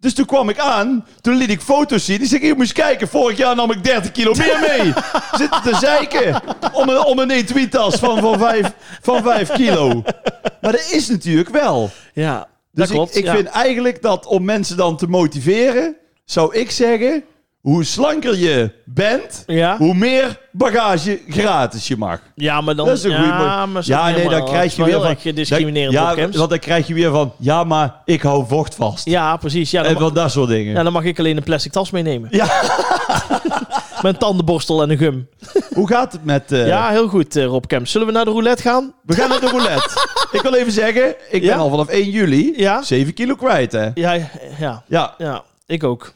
B: Dus toen kwam ik aan, toen liet ik foto's zien. Ik zeg, je moest kijken, vorig jaar nam ik 30 kilo meer mee. Zitten te zeiken om een, om een etuitas van, van, 5, van 5 kilo. Maar dat is natuurlijk wel.
A: Ja,
B: Dus
A: dat klopt.
B: ik, ik
A: ja.
B: vind eigenlijk dat om mensen dan te motiveren, zou ik zeggen: hoe slanker je bent,
A: Ja.
B: hoe meer bagage gratis je mag.
A: ja, maar dan...
B: Dat is een
A: ja,
B: goede.
A: maar zo
B: ja, nee,
A: helemaal-
B: dan krijg
A: dat is
B: je weer
A: wel heel
B: van
A: erg gediscriminerend
B: dan-
A: op
B: ja,
A: Kems.
B: want dan krijg je weer van: ja, maar ik hou vocht vast
A: Ja, precies. Ja, dan,
B: en
A: mag,
B: van dat soort dingen.
A: ja, dan mag ik alleen een plastic tas meenemen.
B: Eh, Ja.
A: Met een tandenborstel en een gum.
B: Hoe gaat het met? eh,
A: Ja, heel goed, eh, Rob Kemp. Zullen we naar de roulette gaan?
B: We gaan naar de roulette. ik wil even zeggen: ik
A: Ja?
B: ben al vanaf 1 juli
A: Ja.
B: 7 kilo kwijt, hè?
A: Ja, ja,
B: Ja,
A: ja. Ik ook.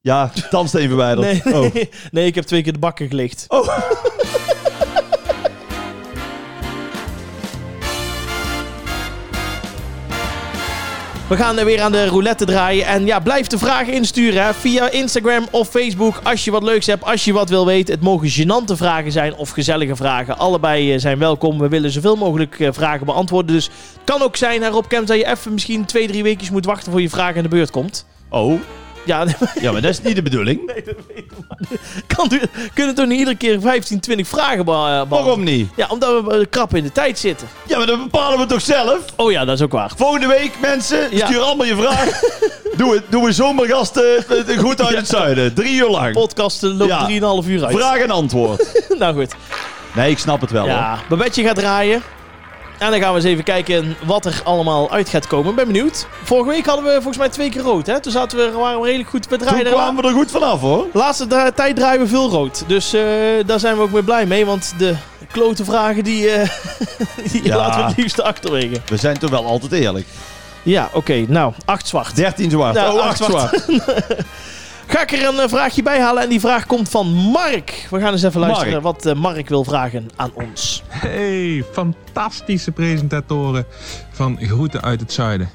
B: ja, tandsteen verwijderd.
A: Nee,
B: Oh.
A: nee, nee, ik heb twee keer de bakken gelicht. We gaan er weer aan de roulette draaien. En ja, blijf de vragen insturen hè, via Instagram of Facebook. Als je wat leuks hebt, als je wat wil weten. Het mogen gênante vragen zijn of gezellige vragen. Allebei eh, zijn welkom. We willen zoveel mogelijk eh, vragen beantwoorden. Dus het kan ook zijn, hè, Rob Kemp, dat je even misschien twee, drie weekjes moet wachten voor je vraag aan de beurt komt.
B: oh,
A: Ja,
B: ja, maar dat is niet de bedoeling.
A: kan, u- kunnen toch niet iedere keer 15, 20 vragen eh, beantwoorden?
B: Waarom niet?
A: Ja, omdat we eh, krap in de tijd zitten.
B: Ja, maar dat bepalen we toch zelf?
A: Oh ja, dat is ook waar.
B: Volgende week, mensen,
A: Ja.
B: stuur allemaal je vraag. doe, het, doe een zomergast eh, eh, goed uit het zuiden. Drie uur lang.
A: Podcasten loopt
B: Ja.
A: 3,5 uur uit.
B: Vraag en antwoord.
A: nou goed.
B: Nee, ik snap het wel. hoor.
A: Ja, Babetje gaat draaien. En dan gaan we eens even kijken wat er allemaal uit gaat komen. Ik ben benieuwd. Vorige week hadden we volgens mij twee keer rood. Hè? Toen zaten we, waren we redelijk goed. We
B: Toen
A: draaiden
B: kwamen we er goed vanaf, hoor.
A: de laatste dra- tijd draaien we veel rood. Dus eh, daar zijn we ook mee blij mee. Want de klote vragen die, eh, die
B: Ja.
A: laten we het liefst achterwege.
B: We zijn toch wel altijd eerlijk.
A: Ja, oké. nou, acht zwart.
B: 13 zwart.
A: Ja,
B: oh,
A: Nou, acht
B: 8 zwart.
A: Ga ik er een eh, vraagje bij halen. En die vraag komt van Mark. We gaan eens even luisteren
B: Mark.
A: wat eh, Mark wil vragen aan ons.
C: Hey, fantastische presentatoren van Groeten uit het Zuiden.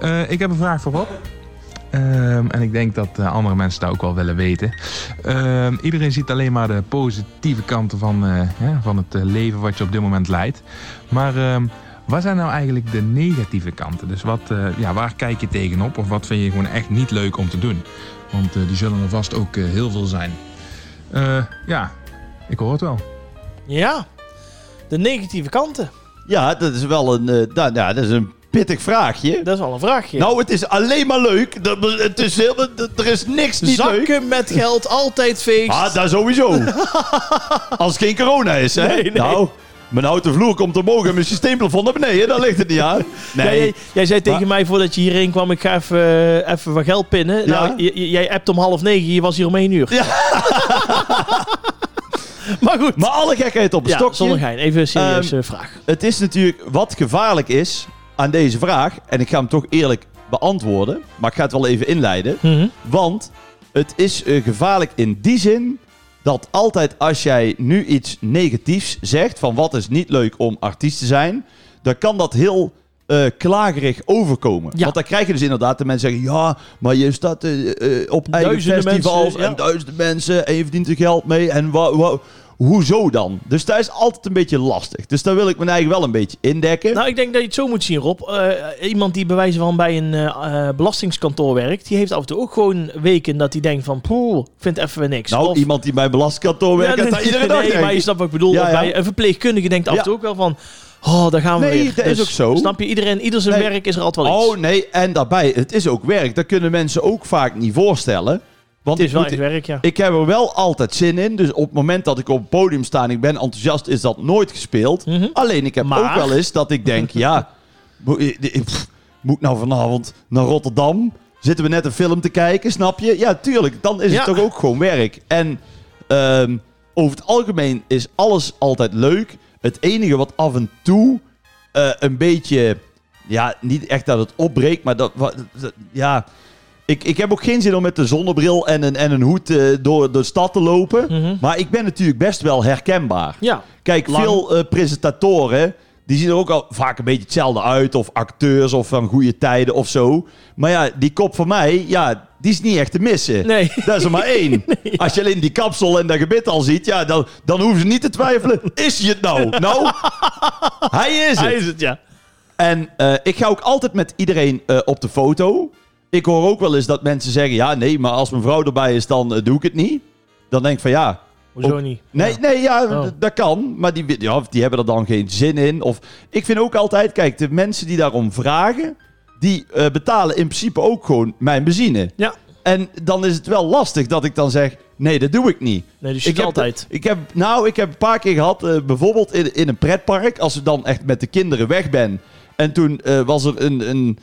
C: Eh, ik heb een vraag voor Rob. Ehm, en ik denk dat eh, andere mensen dat ook wel willen weten. Ehm, iedereen ziet alleen maar de positieve kanten van, eh, hè, van het eh, leven wat je op dit moment leidt. Maar ehm, wat zijn nou eigenlijk de negatieve kanten? Dus wat, eh, ja, waar kijk je tegenop of wat vind je gewoon echt niet leuk om te doen? Want eh, die zullen er vast ook eh, heel veel zijn. Eh, ja, ik hoor het wel.
A: Ja, de negatieve kanten.
B: Ja, dat is wel een, eh, nou, ja, dat is een pittig vraagje.
A: Dat is al een vraagje.
B: Nou, het is alleen maar leuk. Dat, het is heel, dat- er is niks niet leuk.
A: Zakken met geld, altijd feest.
B: Ah, dat sowieso. Als het geen corona is, hè?
A: Nee, nee.
B: Nou, mijn houten vloer komt omhoog en mijn systeemplafond naar beneden. Daar ligt het niet aan.
A: Ja,
B: Nee.
A: jij, jij zei tegen
B: Maar-
A: mij voordat je hierheen kwam, ik ga even, eh, even wat geld pinnen.
B: Ja.
A: Nou, j- j- jij appt om half negen, je was hier om één uur.
B: Ja.
A: maar goed.
B: Maar alle gekheid op een
A: ja,
B: stokje.
A: zonder gein. Even een serieuze
B: Ehm,
A: vraag.
B: Het is natuurlijk wat gevaarlijk is aan deze vraag. En ik ga hem toch eerlijk beantwoorden. Maar ik ga het wel even
A: Hm.
B: inleiden.
A: Mhm.
B: Want het is eh, gevaarlijk in die zin dat altijd als jij nu iets negatiefs zegt van wat is niet leuk om artiest te zijn, dan kan dat heel eh, klagerig overkomen.
A: Ja.
B: Want dan krijg je dus inderdaad de mensen zeggen, ja, maar je staat eh, eh, op eigen
A: Duizenden
B: festivals
A: mensen, ja.
B: en duizenden mensen en je verdient er geld mee en wa- wa- Hoezo dan? Dus dat is altijd een beetje lastig. Dus daar wil ik mijn eigen wel een beetje indekken.
A: Nou, ik denk dat je het zo moet zien, Rob. Eh, iemand die bij wijze van bij een eh, eh, belastingskantoor werkt, die heeft af en toe ook gewoon weken dat hij denkt van, poeh, ik vind even weer niks.
B: nou,
A: Of-
B: iemand die bij een belastkantoor werkt,
A: Ja,
B: dat
A: nee,
B: iedere dag
A: nee,
B: denkt.
A: maar je snapt wat ik bedoel.
B: Ja,
A: Of
B: ja.
A: bij een verpleegkundige denkt af en
B: Ja.
A: toe ook wel van... Oh, daar gaan we
B: Nee,
A: weer.
B: dat is ook zo.
A: Snap je, iedereen, ieder zijn
B: Nee.
A: werk is er altijd wel iets.
B: Oh nee, en daarbij, het is ook werk. Dat kunnen mensen ook vaak niet voorstellen. Want
A: het is
B: ik,
A: wel
B: moet-
A: echt werk, ja.
B: ik heb er wel altijd zin in. Dus op het moment dat ik op het podium sta en ik ben enthousiast, is dat nooit gespeeld.
A: Mhm.
B: Alleen ik heb
A: Maar-
B: ook wel eens dat ik denk, ja, mo- eh, eh, pff, moet ik nou vanavond naar Rotterdam? Zitten we net een film te kijken, snap je? Ja, tuurlijk. Dan is
A: Ja.
B: het toch ook gewoon werk. En ehm, over het algemeen is alles altijd leuk. Het enige wat af en toe eh, een beetje, ja, niet echt dat het opbreekt, maar dat, wa- dat- ja. Ik, ik heb ook geen zin om met de zonnebril en een, en een hoed eh, door de stad te lopen.
A: Mhm.
B: Maar ik ben natuurlijk best wel herkenbaar.
A: Ja,
B: Kijk,
A: Lang.
B: veel eh, presentatoren, die zien er ook al vaak een beetje hetzelfde uit. Of acteurs of van goede tijden of zo. Maar ja, die kop van mij, ja, die is niet echt te missen.
A: nee.
B: Dat is er maar één. Als je alleen die kapsel en dat gebit al ziet, ja, dan, dan hoeven ze niet te twijfelen. Is hij het nou? Nou, hij is
A: Hij
B: het.
A: is het, ja.
B: En eh, ik ga ook altijd met iedereen eh, op de foto. Ik hoor ook wel eens dat mensen zeggen, ja, nee, maar als mijn vrouw erbij is, dan eh, doe ik het niet. Dan denk ik van, ja,
A: Hoezo
B: Ook-
A: niet?
B: Nee,
A: Ja.
B: nee, ja,
A: Oh.
B: d- dat kan. Maar die, wi- ja, die hebben er dan geen zin in. Of, ik vind ook altijd, kijk, de mensen die daarom vragen, die eh, betalen in principe ook gewoon mijn benzine.
A: Ja.
B: En dan is het wel lastig dat ik dan zeg, nee, dat doe ik niet.
A: Nee, dus je
B: Ik
A: ziet
B: heb,
A: altijd.
B: ik heb, nou, ik heb een paar keer gehad, eh, bijvoorbeeld in, in een pretpark, als ik dan echt met de kinderen weg ben. En toen eh, was er een, een,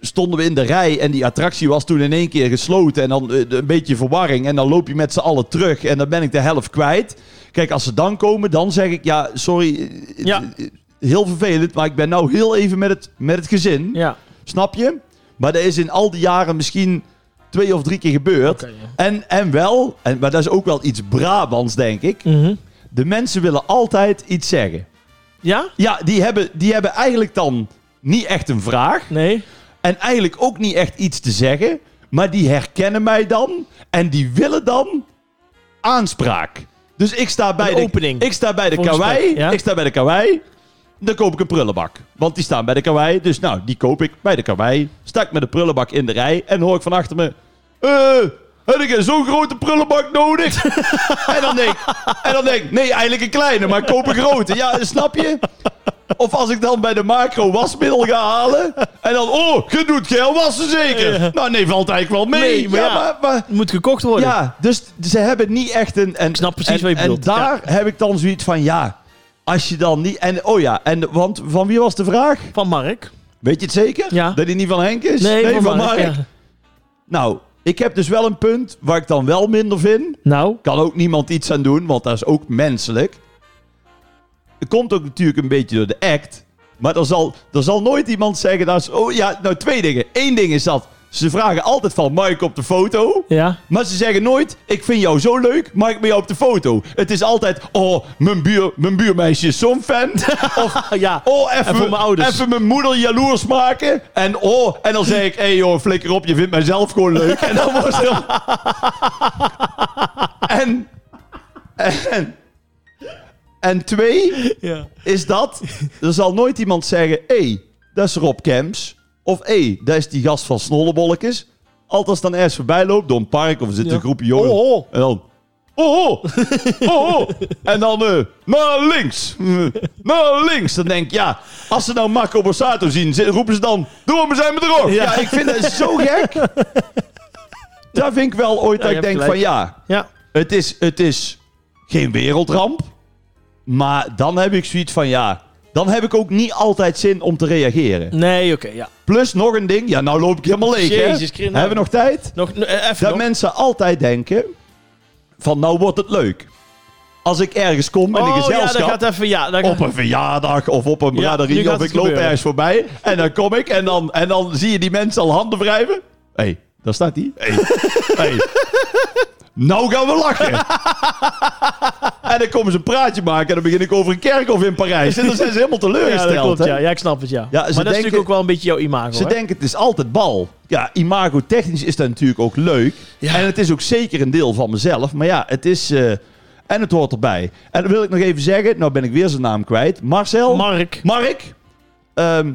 B: stonden we in de rij en die attractie was toen in één keer gesloten. En dan eh, een beetje verwarring en dan loop je met z'n allen terug en dan ben ik de helft kwijt. Kijk, als ze dan komen, dan zeg ik, ja, sorry, eh,
A: Ja.
B: eh, heel vervelend, maar ik ben nou heel even met het, met het gezin.
A: Ja.
B: Snap je? Maar dat is in al die jaren misschien twee of drie keer gebeurd.
A: Oké, ja.
B: En, en wel, en, maar dat is ook wel iets Brabants, denk ik.
A: Mhm.
B: De mensen willen altijd iets zeggen.
A: Ja?
B: Ja, die hebben, die hebben eigenlijk dan niet echt een vraag.
A: Nee.
B: En eigenlijk ook niet echt iets te zeggen. Maar die herkennen mij dan. En die willen dan aanspraak. Dus ik sta bij
A: Een
B: de
A: opening
B: Ik sta bij de
A: voor een gesprek,
B: kawaii.
A: ja?
B: Ik sta bij de kawaii. Dan koop ik een prullenbak. Want die staan bij de kawaii. Dus nou, die koop ik bij de kawaii. Sta ik met de prullenbak in de rij. En hoor ik van achter me... Eh, heb ik zo'n grote prullenbak nodig? en, dan denk, en dan denk ik... Nee, eigenlijk een kleine, maar ik koop een grote. Ja, snap je? Of als ik dan bij de macro wasmiddel ga halen. En dan... Oh, je doet geen wassen zeker?
A: Ja.
B: Nou nee, valt eigenlijk wel mee.
A: Nee, maar
B: ja,
A: ja.
B: maar- maar
A: Moet gekocht worden.
B: ja, dus t- ze hebben niet echt een... En, ik
A: snap precies
B: en,
A: wat je bedoelt,
B: En daar heb ik dan zoiets van, ja, als je dan niet... En, oh ja, en, want van wie was de vraag?
A: Van Mark.
B: Weet je het zeker?
A: Ja.
B: Dat hij niet van Henk is?
A: Nee, van, Mark. ja.
B: Nou, ik heb dus wel een punt waar ik dan wel minder vind.
A: Nou.
B: Kan ook niemand iets aan doen, want dat is ook menselijk. Het komt ook natuurlijk een beetje door de act. Maar er zal, er zal nooit iemand zeggen... Dat ze- oh ja, nou twee dingen. Eén ding is dat ze vragen altijd van Mike op de foto...
A: Ja.
B: Maar ze zeggen nooit, ik vind jou zo leuk, mag ik met jou op de foto? Het is altijd, oh, mijn, buur, mijn buurmeisje is zo'n fan. Of,
A: ja.
B: oh,
A: En voor
B: even
A: mijn ouders.
B: even mijn moeder jaloers maken. En oh, en dan zeg ik, hé hey, joh, flikker op, je vindt mijzelf gewoon leuk. En dan wordt het... en, en, en twee,
A: Ja.
B: is dat er zal nooit iemand zeggen: hé, hey, dat is Rob Kemps. Of hé, hey, dat is die gast van Snollebolletjes. Altijd als dan ergens voorbij loopt door een park of er zit
A: Ja.
B: een groepje jongen.
A: Oh, oh.
B: En dan. Oh, oh, oh, oh. En dan eh, naar links. Eh, Naar links. Dan denk ik, ja, als ze nou Marco Borsato zien, ze- roepen ze dan... Doe we zijn met erop. Ja. ja, ik vind dat zo gek. Daar vind ik wel
A: je
B: ooit dat ik
A: hebt
B: denk van,
A: gelijk.
B: ja,
A: Ja.
B: het is, het is geen wereldramp. Maar dan heb ik zoiets van ja. Dan heb ik ook niet altijd zin om te reageren.
A: Nee, oké, ja.
B: Plus nog een ding. Ja, nou loop ik helemaal leeg. hè?
A: Jezus, Christus.
B: Hebben we nog tijd?
A: Nog, n- eh, even
B: Dat
A: nog.
B: mensen altijd denken: van nou wordt het leuk. Als ik ergens kom in een
A: Oh ja,
B: gezelschap.
A: dat gaat even, ja. Dat
B: op een verjaardag of op een
A: Ja, nu
B: braderie
A: gaat
B: of
A: het
B: ik loop
A: gebeuren.
B: ergens voorbij. En dan kom ik en dan, en dan zie je die mensen al handen wrijven. Hé, hey, daar staat die. Hé, hey. hey. Nou gaan we lachen. en dan komen ze een praatje maken en dan begin ik over een kerkhof in Parijs. En dan zijn ze helemaal
A: ja, dat
B: teleurgesteld.
A: klopt,
B: hè?
A: ja. ja, ik snap het, ja. maar dat is
B: denken-
A: natuurlijk ook wel een beetje jouw imago,
B: Ze
A: hè?
B: denken het is altijd bal. Ja, imago technisch is dat natuurlijk ook leuk.
A: Ja.
B: En het is ook zeker een deel van mezelf. Maar ja, het is... eh, en het hoort erbij. En dan wil ik nog even zeggen, nou ben ik weer zijn naam kwijt. Marcel.
A: Mark.
B: Mark, ehm,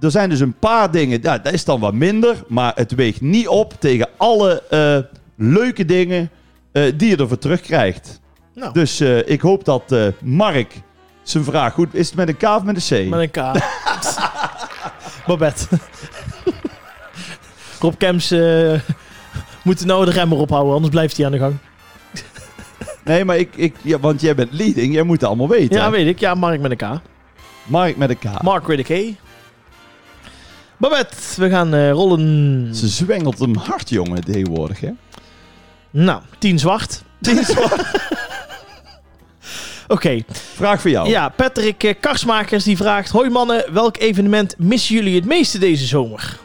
B: er zijn dus een paar dingen. Ja, dat is dan wat minder, maar het weegt niet op tegen alle eh, leuke dingen eh, die je ervoor terugkrijgt.
A: Nou.
B: Dus eh, ik hoop dat eh, Mark zijn vraag. Goed, is het met een K of met een C?
A: Met een K. Babette. Rob Kemps eh, moet nou de remmer ophouden, anders blijft hij aan de gang.
B: Nee, maar ik, ik, ja, want jij bent leading. Jij moet het allemaal weten.
A: Ja, weet ik. Ja, Mark met een K.
B: Ah. Mark met een K.
A: Mark with a K. Babette, we gaan eh, rollen.
B: Ze zwengelt hem hard, jongen, tegenwoordig, hè?
A: Nou, 10 zwart. 10 zwart. Oké,
B: Vraag voor jou.
A: ja, Patrick eh, Karsmakers die vraagt... Hoi mannen, welk evenement missen jullie het meeste deze zomer?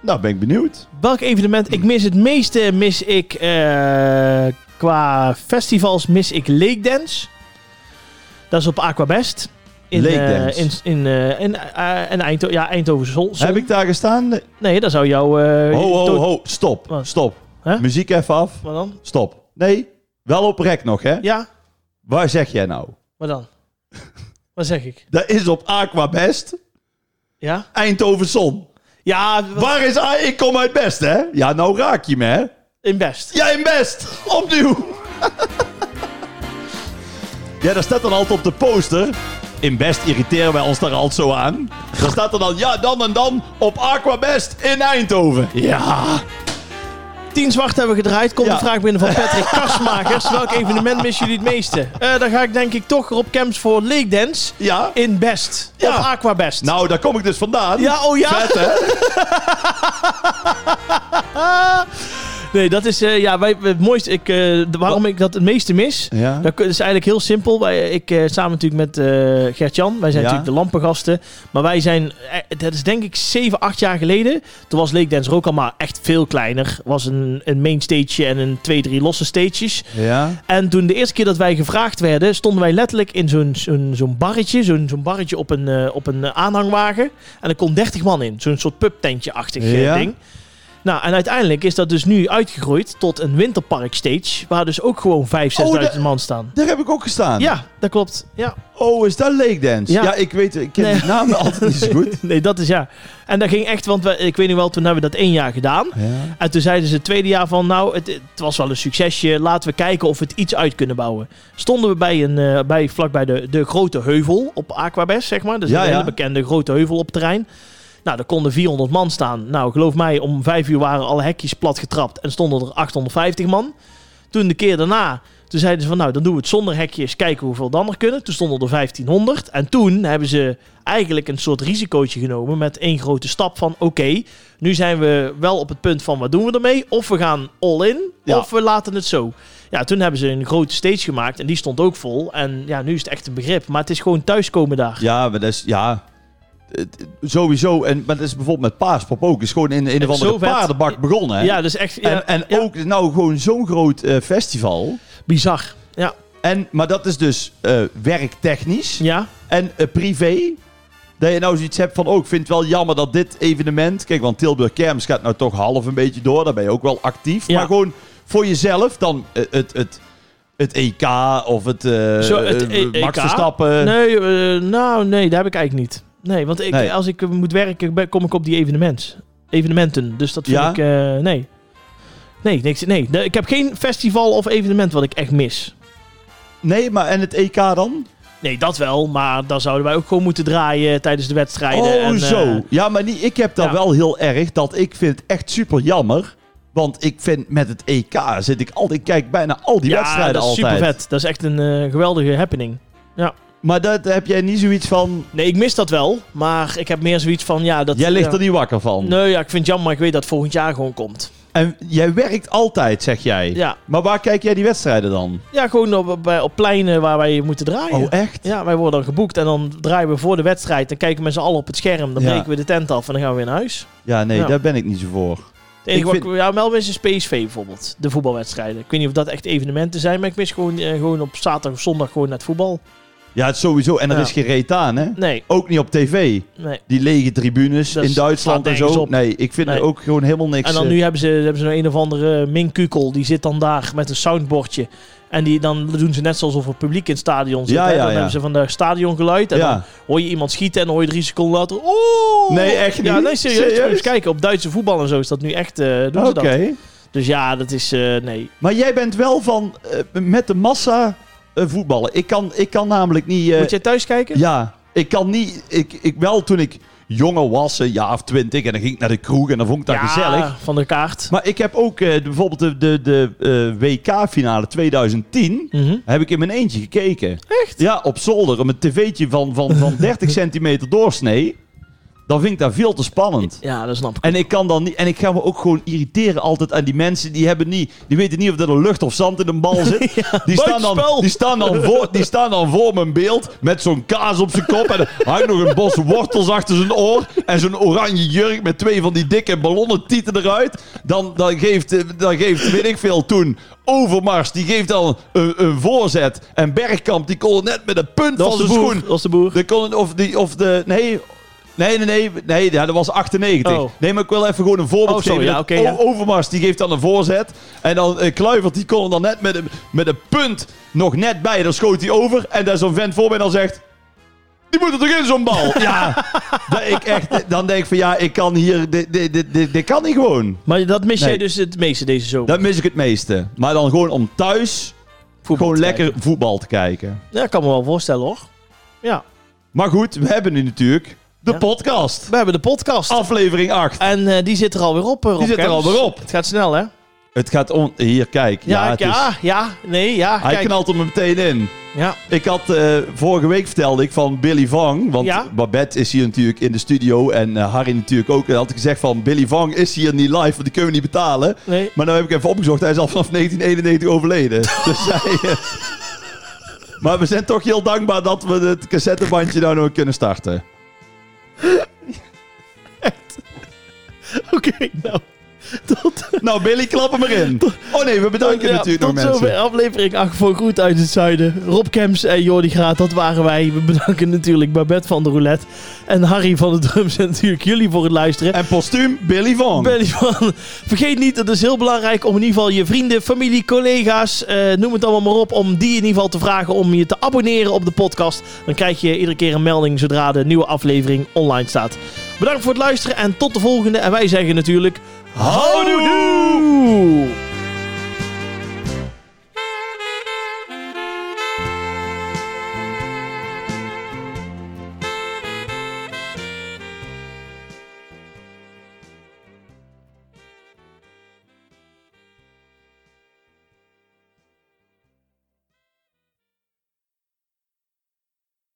B: Nou, ben ik benieuwd.
A: Welk evenement ik mis het meeste? Mis ik eh, qua festivals mis ik Lake Dance. Dat is op Aquabest. In,
B: Lake
A: eh,
B: Dance.
A: in, in, eh, in, eh, in Eindho- ja, Eindhoven Zon. Zon.
B: Heb ik daar gestaan? Nee.
A: Nee, dan zou jou... eh,
B: Ho, ho,
A: dood-
B: ho. Stop.
A: Wat?
B: Stop.
A: Oh. Hè?
B: Muziek even af.
A: Wat dan?
B: Stop. Nee, wel op rek nog, hè?
A: Ja,
B: Waar zeg jij nou?
A: wat dan? wat zeg ik?
B: Dat is op Aquabest,
A: Ja?
B: Eindhoven Zon.
A: Ja, wat-
B: Waar is... A- Ik kom uit Best, hè? Ja, nou raak je me, hè?
A: in Best.
B: Jij in Best. Opnieuw. ja, daar staat dan altijd op de poster... In Best irriteren wij ons daar altijd zo aan. Daar staat er dan, ja, dan en dan op Aquabest in Eindhoven. Ja.
A: 10 zwart hebben we gedraaid. Komt
B: Ja.
A: een vraag binnen van Patrick Karsmakers. Welk evenement missen jullie het meeste? Eh, dan ga ik denk ik toch op camps voor Lake Dance
B: Ja.
A: in Best.
B: Ja.
A: Of Aquabest.
B: Nou, daar kom ik dus vandaan.
A: Ja, oh ja.
B: Vet, hè?
A: Nee, dat is eh, ja, wij, het mooiste. Ik, eh, de- waarom ik dat het meeste mis.
B: Ja.
A: Dat is eigenlijk heel simpel. Wij, ik, eh, samen natuurlijk met eh Gert-Jan. Wij zijn
B: Ja.
A: natuurlijk de lampengasten. Maar wij zijn, eh, dat is denk ik 7, 8 jaar geleden. Toen was Lake Dance er ook al maar echt veel kleiner. Was een, een main stage en een twee, drie losse stages.
B: Ja.
A: En toen de eerste keer dat wij gevraagd werden, stonden wij letterlijk in zo'n zo'n zo'n barretje, zo'n zo'n barretje op een, eh, op een eh, aanhangwagen. En er kon 30 man in, zo'n soort pubtentje-achtig eh,
B: Ja.
A: ding. Nou, en uiteindelijk is dat dus nu uitgegroeid tot een winterparkstage, waar dus ook gewoon 5, 6.000
B: Oh, de-
A: man staan.
B: Daar heb ik ook gestaan.
A: Ja, dat klopt. Ja.
B: Oh, is dat Lake Dance?
A: Ja.
B: Ja, ik weet ik ken
A: Nee.
B: die namen altijd niet zo goed.
A: Nee, dat is ja. En dat ging echt, want we, ik weet nog wel, toen hebben we dat één jaar gedaan.
B: Ja.
A: En toen zeiden ze het tweede jaar van, nou, het, het was wel een succesje. Laten we kijken of we het iets uit kunnen bouwen. Stonden we bij een, eh, bij, vlakbij de, de grote heuvel op Aquabest, zeg maar. Dus
B: Ja,
A: een
B: ja.
A: hele bekende grote heuvel op het terrein. Nou, daar konden 400 man staan. Nou, geloof mij, om vijf uur waren alle hekjes plat getrapt en stonden er 850 man. Toen de keer daarna, toen zeiden ze van, nou, dan doen we het zonder hekjes. Kijken hoeveel dan er kunnen. Toen stonden er 1500. En toen hebben ze eigenlijk een soort risicootje genomen met één grote stap van, oké... Nu zijn we wel op het punt van wat doen we ermee? Of we gaan all in,
B: Ja.
A: of we laten het zo. Ja, toen hebben ze een grote stage gemaakt en die stond ook vol. En ja, nu is het echt een begrip. Maar het is gewoon thuiskomen daar.
B: Ja, maar dat is... Ja. Het- het- Sowieso. En, maar dat is bijvoorbeeld met Paaspop ook. is gewoon in een of andere
A: Zo vet.
B: paardenbak begonnen. Hè?
A: Ja, dus echt ja,
B: en en
A: ja,
B: ook nou gewoon zo'n groot eh, festival.
A: bizar. Ja,
B: En, maar dat is dus eh, werktechnisch
A: ja,
B: en eh, privé. Dat je nou zoiets hebt van, oh, ik vind het wel jammer dat dit evenement... Kijk, want Tilburg Kerms gaat nou toch half een beetje door. Daar ben je ook wel actief.
A: Ja.
B: Maar gewoon voor jezelf dan eh, het, het, het EK of het, eh
A: Zo, het
B: eh,
A: E-
B: Max
A: EK?
B: Verstappen.
A: nee, eh, nou nee, dat heb ik eigenlijk niet. Nee, want ik,
B: Nee.
A: als ik eh, moet werken, ben- kom ik op die evenementen. Evenementen, dus dat vind
B: Ja?
A: ik, eh, nee. Nee, niks, nee, nee, ik heb geen festival of evenement wat ik echt mis.
B: Nee, maar en het EK dan?
A: Nee, dat wel. Maar dan zouden wij ook gewoon moeten draaien tijdens de wedstrijden.
B: oh,
A: en, eh,
B: zo. ja, maar niet, ik heb dat
A: ja.
B: wel heel erg. Dat ik vind het echt super jammer. Want ik vind met het EK zit ik altijd... Ik kijk bijna al die
A: ja,
B: wedstrijden
A: dat is
B: altijd.
A: super vet. Dat is echt een eh, geweldige happening.
B: Maar dat heb jij niet zoiets van...
A: Nee, ik mis dat wel. Maar ik heb meer zoiets van, ja, dat...
B: Jij ligt
A: ja.
B: er niet wakker van.
A: Nee, ja, ik vind het jammer, maar ik weet dat het volgend jaar gewoon komt.
B: En jij werkt altijd, zeg jij.
A: Ja,
B: Maar waar kijk jij die wedstrijden dan?
A: ja gewoon op, op, op pleinen waar wij moeten draaien.
B: Oh, echt?
A: ja, wij worden dan geboekt en dan draaien we voor de wedstrijd. Dan kijken we met z'n allen op het scherm. Dan
B: Ja.
A: breken we de tent af en dan gaan we weer naar huis.
B: Ja, nee,
A: Ja.
B: daar ben ik niet zo voor.
A: Het enige
B: Ik
A: wat ik
B: vind-
A: ja, wel mis is PSV bijvoorbeeld. De voetbalwedstrijden. Ik weet niet of dat echt evenementen zijn, maar ik mis gewoon, eh, gewoon op zaterdag of zondag gewoon naar het voetbal.
B: Ja, het sowieso. En er
A: Ja.
B: is geen reet aan, hè?
A: Nee,
B: Ook niet op tv.
A: nee.
B: Die lege tribunes
A: Dat
B: in
A: slaat
B: Duitsland en
A: nergens
B: zo.
A: op.
B: Nee, ik vind
A: Nee.
B: er ook gewoon helemaal niks.
A: En dan
B: eh,
A: nu hebben ze, hebben ze nou een of andere minkukel. Die zit dan daar met een soundbordje. En die, dan doen ze net alsof er publiek in het stadion zit.
B: Ja,
A: hè.
B: ja,
A: dan
B: ja.
A: hebben ze van de stadiongeluid. En dan
B: Ja.
A: hoor je iemand schieten en dan hoor je drie seconden later... Oeh!
B: Nee, echt
A: Ja,
B: niet?
A: nee, serieus.
B: Serieus?
A: Moet je Eens kijken, op Duitse voetbal en zo is dat nu echt... eh, doen
B: Oké.
A: ze dat. Dus ja, dat is... eh, nee.
B: Maar jij bent wel van eh, met de massa eh, voetballen. Ik kan, ik kan namelijk niet... eh,
A: Moet jij thuis kijken?
B: ja, ik kan niet... Ik, ik wel toen ik jonger was, eh, een jaar of twintig, en dan ging ik naar de kroeg en dan vond ik dat
A: Ja,
B: gezellig.
A: Van de kaart.
B: Maar ik heb ook eh, de- bijvoorbeeld de, de, de eh, WK-finale 2010...
A: Mhm.
B: Heb ik in mijn eentje gekeken.
A: Echt?
B: Ja, op zolder. Om een tv'tje van, van, van 30 centimeter doorsnee. Dan vind ik dat veel te spannend.
A: Ja, dat snap ik.
B: En ik kan dan niet. En ik ga me ook gewoon irriteren altijd aan die mensen. Die hebben niet. Die weten niet of er lucht of zand in een bal zit. die, staan dan,
A: buitenspel.
B: die, staan dan voor, die staan dan voor mijn beeld. Met zo'n kaas op zijn kop. En er hangt nog een bos wortels achter zijn oor. En zo'n oranje jurk met twee van die dikke ballonnen tieten eruit. Dan, dan, geeft, eh, dan geeft, weet ik veel, toen. Overmars, die geeft dan een, een voorzet. En Bergkamp, die kon er net met een punt
A: Dat
B: van
A: was de
B: zijn
A: boer.
B: schoen.
A: Dat was de boer.
B: De kon, of, die, of de. Nee. Nee, nee, nee. nee ja, dat was 98.
A: Oh.
B: Nee, maar ik wil even gewoon een voorbeeld
A: Oh, sorry,
B: geven.
A: ja, oké,
B: O-
A: ja.
B: Overmars die geeft dan een voorzet. En dan eh, Kluivert die kon er dan net met een, met een punt nog net bij. Dan schoot hij over. En daar is zo'n vent voor mij dan zegt... Die moet er toch in zo'n bal? ja. Dat ik echt, dan denk ik van ja, ik kan hier... Dit, dit, dit, dit, dit kan niet gewoon.
A: Maar dat mis jij
B: Nee.
A: dus het meeste deze zomer.
B: Dat mis ik het meeste. Maar dan gewoon om thuis
A: Voetbal
B: gewoon
A: te
B: lekker voetbal te kijken.
A: kijken. Ja, kan me wel voorstellen hoor. Ja.
B: Maar goed, we hebben nu natuurlijk de
A: Ja.
B: podcast.
A: We hebben de podcast.
B: Aflevering 8.
A: En eh, die zit er alweer op. eh, Rob
B: Die zit er
A: Kemps.
B: alweer op.
A: Het gaat snel hè?
B: Het gaat om... Hier, kijk. Ja,
A: Ja, ja,
B: het is-
A: ja, nee, ja.
B: Hij
A: kijk.
B: knalt er me meteen in.
A: Ja,
B: Ik had... eh, vorige week vertelde ik van Billy Vang. Want
A: Ja.
B: Babette is hier natuurlijk in de studio. En eh, Harry natuurlijk ook. En had ik gezegd van... Billy Vang is hier niet live. Want die kunnen we niet betalen.
A: nee.
B: Maar nu heb ik even opgezocht. Hij is al vanaf 1991 overleden. dus hij... eh, maar we zijn toch heel dankbaar dat we het cassettebandje nou nog kunnen starten.
A: Oké, nou. Tot,
B: Nou, Billy, klap hem erin. Oh nee, we bedanken
A: ja,
B: natuurlijk nog
A: tot
B: mensen.
A: zover aflevering 8 voor Groet uit het Zuiden. Rob Kemps en Jordi Graat, dat waren wij. We bedanken natuurlijk Babette van de Roulette en Harry van de Drums en natuurlijk jullie voor het luisteren.
B: En postuum, Billy Vang.
A: Ben je van. Vergeet niet, het is heel belangrijk om in ieder geval je vrienden, familie, collega's, eh, noem het allemaal maar op, om die in ieder geval te vragen om je te abonneren op de podcast. Dan krijg je iedere keer een melding zodra de nieuwe aflevering online staat. Bedankt voor het luisteren en tot de volgende. En wij zeggen natuurlijk:
B: Houdoe!
A: Houdoe!